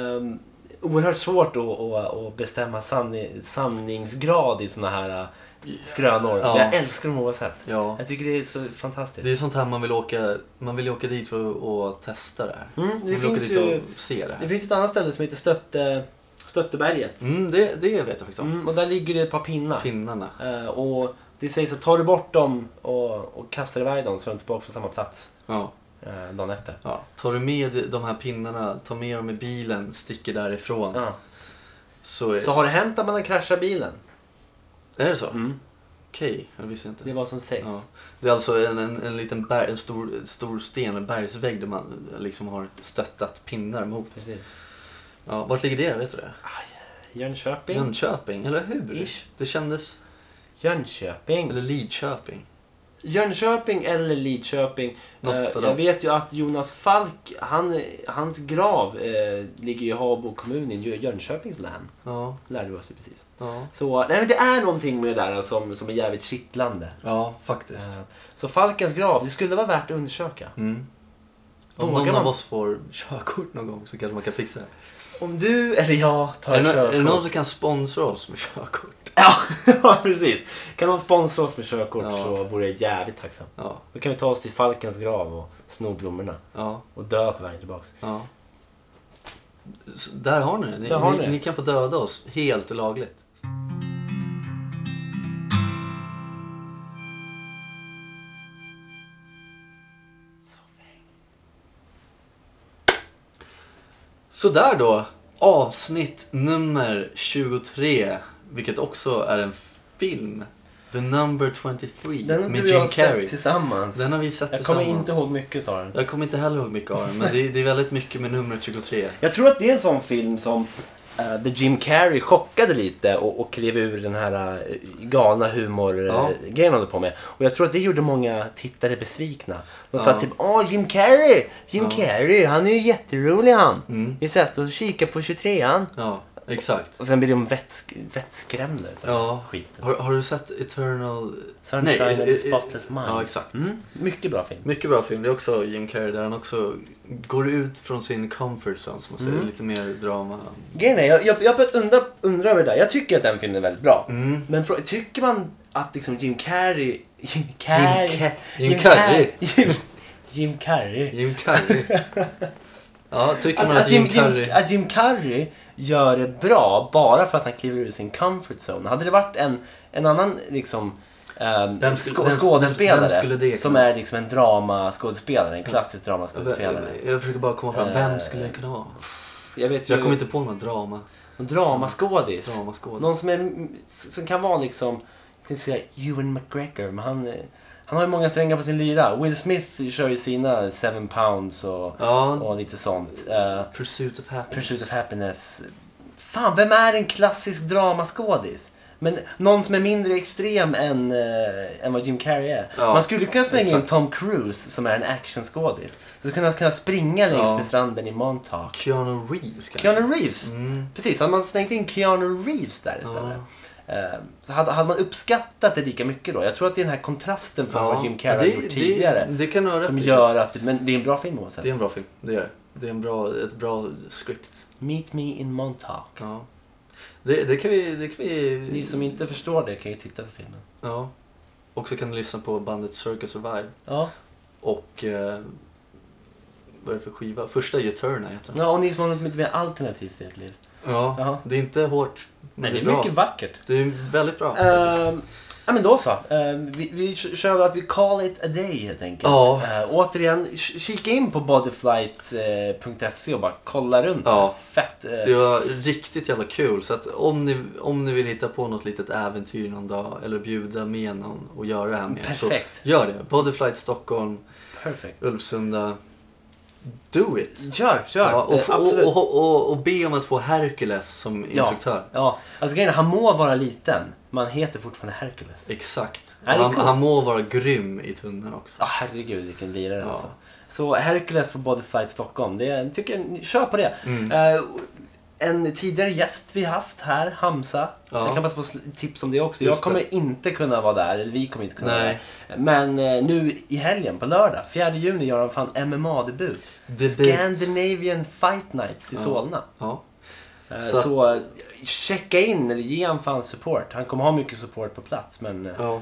[SPEAKER 1] um, oerhört svårt att, att, att bestämma sanning, sanningsgrad i såna här eh, skrönor.
[SPEAKER 2] Ja.
[SPEAKER 1] Men Jag älskar dem oavsett.
[SPEAKER 2] Ja.
[SPEAKER 1] Jag tycker det är så
[SPEAKER 2] Det
[SPEAKER 1] fantastiskt.
[SPEAKER 2] är sånt här man vill åka, man vill ju åka dit för att och testa det här.
[SPEAKER 1] Mm,
[SPEAKER 2] man
[SPEAKER 1] det
[SPEAKER 2] vill
[SPEAKER 1] finns
[SPEAKER 2] åka dit
[SPEAKER 1] ju-
[SPEAKER 2] och se det
[SPEAKER 1] Det
[SPEAKER 2] här.
[SPEAKER 1] finns ett annat ställe som heter Stötte, Stötteberget.
[SPEAKER 2] Mm, det, det vet jag faktiskt om.
[SPEAKER 1] Mm, och där ligger det ett par pinnar.
[SPEAKER 2] Pinnarna.
[SPEAKER 1] Eh, och det sägs att tar du bort dem och, och kastar iväg dem så är de tillbaka på samma plats
[SPEAKER 2] Ja.
[SPEAKER 1] uh, dagen efter.
[SPEAKER 2] Ja. Tar du med de här pinnarna, tar med dem i bilen, sticker därifrån.
[SPEAKER 1] Ja.
[SPEAKER 2] Så, är,
[SPEAKER 1] Så har det hänt att man har kraschat bilen?
[SPEAKER 2] är det så?
[SPEAKER 1] Mm.
[SPEAKER 2] Okej, jag visste inte.
[SPEAKER 1] Det är vad som sägs.
[SPEAKER 2] Ja. Det är alltså en, en, en liten berg, en stor, en stor sten, en bergsvägg där man liksom har stöttat pinnar mot.
[SPEAKER 1] Precis.
[SPEAKER 2] Ja, vart ligger det? Vet du det?
[SPEAKER 1] Jönköping.
[SPEAKER 2] Jönköping, eller hur?
[SPEAKER 1] Ish.
[SPEAKER 2] Det kändes...
[SPEAKER 1] Jönköping.
[SPEAKER 2] Eller Lidköping.
[SPEAKER 1] Jönköping eller Lidköping.
[SPEAKER 2] Något
[SPEAKER 1] Eh,
[SPEAKER 2] av
[SPEAKER 1] jag
[SPEAKER 2] dem.
[SPEAKER 1] vet ju att Jonas Falk, han, hans grav eh, ligger i Habo kommun i Jö- Jönköpings län.
[SPEAKER 2] Ja,
[SPEAKER 1] Lärde vi oss ju precis.
[SPEAKER 2] ja.
[SPEAKER 1] Så nej, men det är någonting med det där som, som är jävligt kittlande.
[SPEAKER 2] ja faktiskt.
[SPEAKER 1] Eh, så Falkens grav, det skulle vara värt att undersöka.
[SPEAKER 2] Mm. Om
[SPEAKER 1] Vågar
[SPEAKER 2] någon
[SPEAKER 1] man?
[SPEAKER 2] av oss får körkort någon gång så kanske man kan fixa det.
[SPEAKER 1] Om du eller jag tar
[SPEAKER 2] Är det, nå-
[SPEAKER 1] körkort.
[SPEAKER 2] är det någon som kan sponsra oss med körkort?
[SPEAKER 1] Ja, ja, precis. Kan de sponsra oss med körkort
[SPEAKER 2] Ja.
[SPEAKER 1] så vore jag jävligt tacksam.
[SPEAKER 2] Ja,
[SPEAKER 1] Då kan vi ta oss till Falkens grav och sno blommorna.
[SPEAKER 2] ja,
[SPEAKER 1] Och dö på vägen tillbaks.
[SPEAKER 2] ja. Så där har ni det. Ni,
[SPEAKER 1] Där har ni
[SPEAKER 2] ni,
[SPEAKER 1] det.
[SPEAKER 2] ni kan få döda oss helt lagligt. Sådär då. Avsnitt nummer 23. Vilket också är en film. The Number 23
[SPEAKER 1] Den har
[SPEAKER 2] med
[SPEAKER 1] du och
[SPEAKER 2] Jim
[SPEAKER 1] jag har
[SPEAKER 2] Carrey.
[SPEAKER 1] sett tillsammans.
[SPEAKER 2] Den har vi sett
[SPEAKER 1] jag kommer
[SPEAKER 2] tillsammans.
[SPEAKER 1] inte ihåg mycket av den.
[SPEAKER 2] Jag kommer inte heller ihåg mycket av den, men det är, det är väldigt mycket med numret 23.
[SPEAKER 1] Jag tror att det är en sån film som eh, The Jim Carrey chockade lite och, och klev ur den här uh, galna
[SPEAKER 2] Ja.
[SPEAKER 1] humorgrejen han höll på med. Och jag tror att det gjorde många tittare besvikna. De
[SPEAKER 2] Ja.
[SPEAKER 1] sa typ Åh Jim Carrey! Jim
[SPEAKER 2] Ja.
[SPEAKER 1] Carrey, han är ju jätterolig han!
[SPEAKER 2] Mm.
[SPEAKER 1] Vi satt och kikade på 23an.
[SPEAKER 2] Ja, exakt.
[SPEAKER 1] Och sen blir de vätsk- vettskrämda utav
[SPEAKER 2] Ja.
[SPEAKER 1] skiten.
[SPEAKER 2] Har, har du sett Eternal...
[SPEAKER 1] Sunshine
[SPEAKER 2] Nej,
[SPEAKER 1] of
[SPEAKER 2] eh,
[SPEAKER 1] the
[SPEAKER 2] eh,
[SPEAKER 1] Spotless Mind.
[SPEAKER 2] Ja, exakt.
[SPEAKER 1] Mm, mycket bra film.
[SPEAKER 2] Mycket bra film. Det är också Jim Carrey där han också går ut från sin comfort zone, som man säger.
[SPEAKER 1] Mm.
[SPEAKER 2] Lite mer drama.
[SPEAKER 1] Grejen är, jag, jag, jag har börjat undra, undra över det där. Jag tycker att den filmen är väldigt bra.
[SPEAKER 2] Mm.
[SPEAKER 1] Men frå- tycker man att liksom Jim Carrey... Jim Carrey...
[SPEAKER 2] Jim Ca- Jim Carrey.
[SPEAKER 1] Jim, Jim Carrey.
[SPEAKER 2] Jim Carrey. Ja, tycker
[SPEAKER 1] Att,
[SPEAKER 2] man
[SPEAKER 1] att,
[SPEAKER 2] att
[SPEAKER 1] Jim,
[SPEAKER 2] Jim
[SPEAKER 1] Jim,
[SPEAKER 2] Carrey...
[SPEAKER 1] att Jim Carrey gör det bra bara för att han kliver ur sin comfort zone. Hade det varit en, en annan liksom, ehm,
[SPEAKER 2] Vem skulle-
[SPEAKER 1] skå-
[SPEAKER 2] vem-
[SPEAKER 1] skådespelare
[SPEAKER 2] vem skulle det
[SPEAKER 1] som
[SPEAKER 2] kunna-
[SPEAKER 1] är liksom en dramaskådespelare, en klassisk dramaskådespelare.
[SPEAKER 2] Jag försöker bara komma fram,
[SPEAKER 1] Eh,
[SPEAKER 2] vem skulle det kunna vara?
[SPEAKER 1] Jag vet ju,
[SPEAKER 2] Jag kommer inte på någon drama.
[SPEAKER 1] en dramaskådis.
[SPEAKER 2] Dramaskådis.
[SPEAKER 1] Någon som, är, som kan vara liksom, jag tänkte säga Ewan McGregor, men han, eh, han har ju många strängar på sin lyra. Will Smith kör ju sina seven pounds och,
[SPEAKER 2] Ja,
[SPEAKER 1] och lite sånt. Eh,
[SPEAKER 2] Pursuit of Happiness.
[SPEAKER 1] Pursuit of Happiness. Fan, vem är en klassisk dramaskådis? Men någon som är mindre extrem än, eh, än vad Jim Carrey är.
[SPEAKER 2] Ja,
[SPEAKER 1] Man skulle kunna slänga in
[SPEAKER 2] exakt.
[SPEAKER 1] Tom Cruise som är en actionskådis. Så skulle han kunna springa längs
[SPEAKER 2] Ja.
[SPEAKER 1] med stranden i Montauk.
[SPEAKER 2] Keanu Reeves kanske?
[SPEAKER 1] Keanu Reeves!
[SPEAKER 2] Mm.
[SPEAKER 1] Precis, hade man slängt in Keanu Reeves där istället. eh, Så hade, hade man uppskattat det lika mycket då. Jag tror att det är den här kontrasten från vad Jim Carrey har gjort tidigare.
[SPEAKER 2] Det, det kan du ha
[SPEAKER 1] som
[SPEAKER 2] rätt i,
[SPEAKER 1] gör
[SPEAKER 2] faktiskt.
[SPEAKER 1] att, men det är en bra film oavsett.
[SPEAKER 2] Det är en bra film, det är det. Det är en bra, ett bra script.
[SPEAKER 1] Meet me in Montauk.
[SPEAKER 2] Ja. Det, det kan vi... Det kan vi...
[SPEAKER 1] Ni som inte förstår det kan ju titta på filmen.
[SPEAKER 2] Ja. Och så kan du lyssna på bandet Circus Survive.
[SPEAKER 1] Ja,
[SPEAKER 2] Och... Eh, vad är det för skiva? Första är Eterna heter den.
[SPEAKER 1] ja och ni som har något lite mer alternativt i ert liv.
[SPEAKER 2] Ja.
[SPEAKER 1] Ja.
[SPEAKER 2] Det är inte hårt. men
[SPEAKER 1] Nej, det är
[SPEAKER 2] bra.
[SPEAKER 1] mycket vackert.
[SPEAKER 2] Det är väldigt bra. faktiskt.
[SPEAKER 1] Ehm, Ja men då så. Ehm, vi, vi k- kör väl att vi call it a day helt enkelt.
[SPEAKER 2] Ja.
[SPEAKER 1] Ehm, återigen, k- kika in på eh, bodyflight.se E och bara kolla runt.
[SPEAKER 2] Ja.
[SPEAKER 1] Fett. eh,
[SPEAKER 2] Det var riktigt jävla kul. Så att om ni, om ni vill hitta på något litet äventyr någon dag eller bjuda med någon och göra det här med
[SPEAKER 1] Perfekt.
[SPEAKER 2] så gör det. Bodyflight Stockholm,
[SPEAKER 1] perfect.
[SPEAKER 2] Ulvsunda. Do it!
[SPEAKER 1] Kör, kör.
[SPEAKER 2] Ja, och,
[SPEAKER 1] Eh,
[SPEAKER 2] f-
[SPEAKER 1] absolut.
[SPEAKER 2] och, och, och, och be om att få Hercules som instruktör.
[SPEAKER 1] Ja, ja. Alltså grejen är, han må vara liten, men han heter fortfarande Hercules.
[SPEAKER 2] Exakt.
[SPEAKER 1] Ja, det är
[SPEAKER 2] han,
[SPEAKER 1] coolt.
[SPEAKER 2] han må vara grym i tunneln också.
[SPEAKER 1] Ja, herregud vilken lirare
[SPEAKER 2] Ja.
[SPEAKER 1] alltså. Så Hercules på Body Fight Stockholm, det är, tycker jag, kör på det.
[SPEAKER 2] Mm.
[SPEAKER 1] Eh, en tidigare gäst vi haft här, Hamza.
[SPEAKER 2] Ja.
[SPEAKER 1] Jag kan passa på att sl- tips om det också.
[SPEAKER 2] Just
[SPEAKER 1] jag kommer inte kunna vara där, eller vi kommer inte kunna
[SPEAKER 2] Nej.
[SPEAKER 1] vara där. Men eh, nu i helgen, på lördag, 4 juni, gör han fan MMA-debut.
[SPEAKER 2] Debut.
[SPEAKER 1] Scandinavian Fight Nights i
[SPEAKER 2] Ja.
[SPEAKER 1] Solna.
[SPEAKER 2] Ja.
[SPEAKER 1] Eh,
[SPEAKER 2] Så
[SPEAKER 1] Så,
[SPEAKER 2] att-
[SPEAKER 1] eh, checka in, eller ge han fan support. Han kommer ha mycket support på plats, men... eh,
[SPEAKER 2] ja.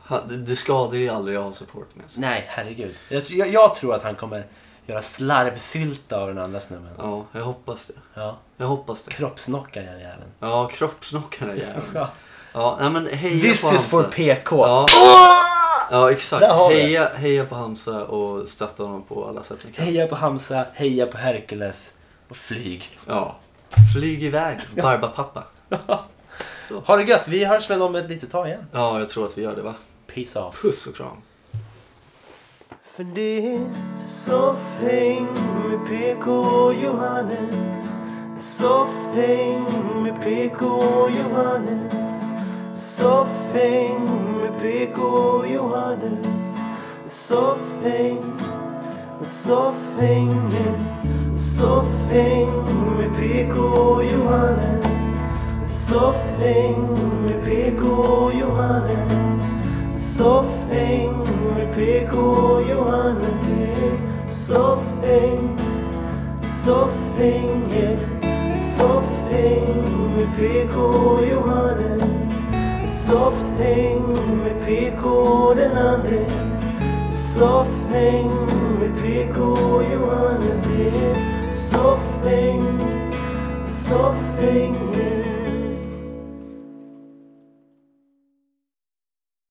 [SPEAKER 2] Han- det- Det skadar ju aldrig att ha support med sig.
[SPEAKER 1] Nej, herregud. Jag, jag, jag tror att han kommer göra slarvsylta av den andra snubben.
[SPEAKER 2] Ja, jag hoppas det.
[SPEAKER 1] Ja.
[SPEAKER 2] Jag hoppas det.
[SPEAKER 1] Kroppsnockar den jäveln.
[SPEAKER 2] Ja, kroppsnockarna jäveln.
[SPEAKER 1] Ja.
[SPEAKER 2] Ja, nej men heja på
[SPEAKER 1] This is for
[SPEAKER 2] Halmstad.
[SPEAKER 1] PK.
[SPEAKER 2] Ja. ja, exakt.
[SPEAKER 1] Där har vi det.
[SPEAKER 2] Heja, heja på Hamza och stötta honom på alla sätt ni kan.
[SPEAKER 1] Heja på Hamza, heja på Hercules och flyg.
[SPEAKER 2] Ja. Flyg iväg, Barbapappa.
[SPEAKER 1] Ha det gött, vi hörs väl om ett litet tag igen.
[SPEAKER 2] Ja, jag tror att vi gör det va?
[SPEAKER 1] Peace off.
[SPEAKER 2] Puss och kram.
[SPEAKER 1] För det är soft häng med PK och Johannes. Soft häng med PK och Johannes. Soft häng med PK och Johannes. Soft häng, soft häng, yeah. soft häng med PK och Johannes. Soft häng med PK och Johannes. Soft häng med PK och Johannes. yeah. Soft häng, soft häng, yeah. soft häng med PK och Johannes. Soft häng med PK och den andre. Soft häng med PK och Johannes. yeah. Soft häng, soft häng, yeah.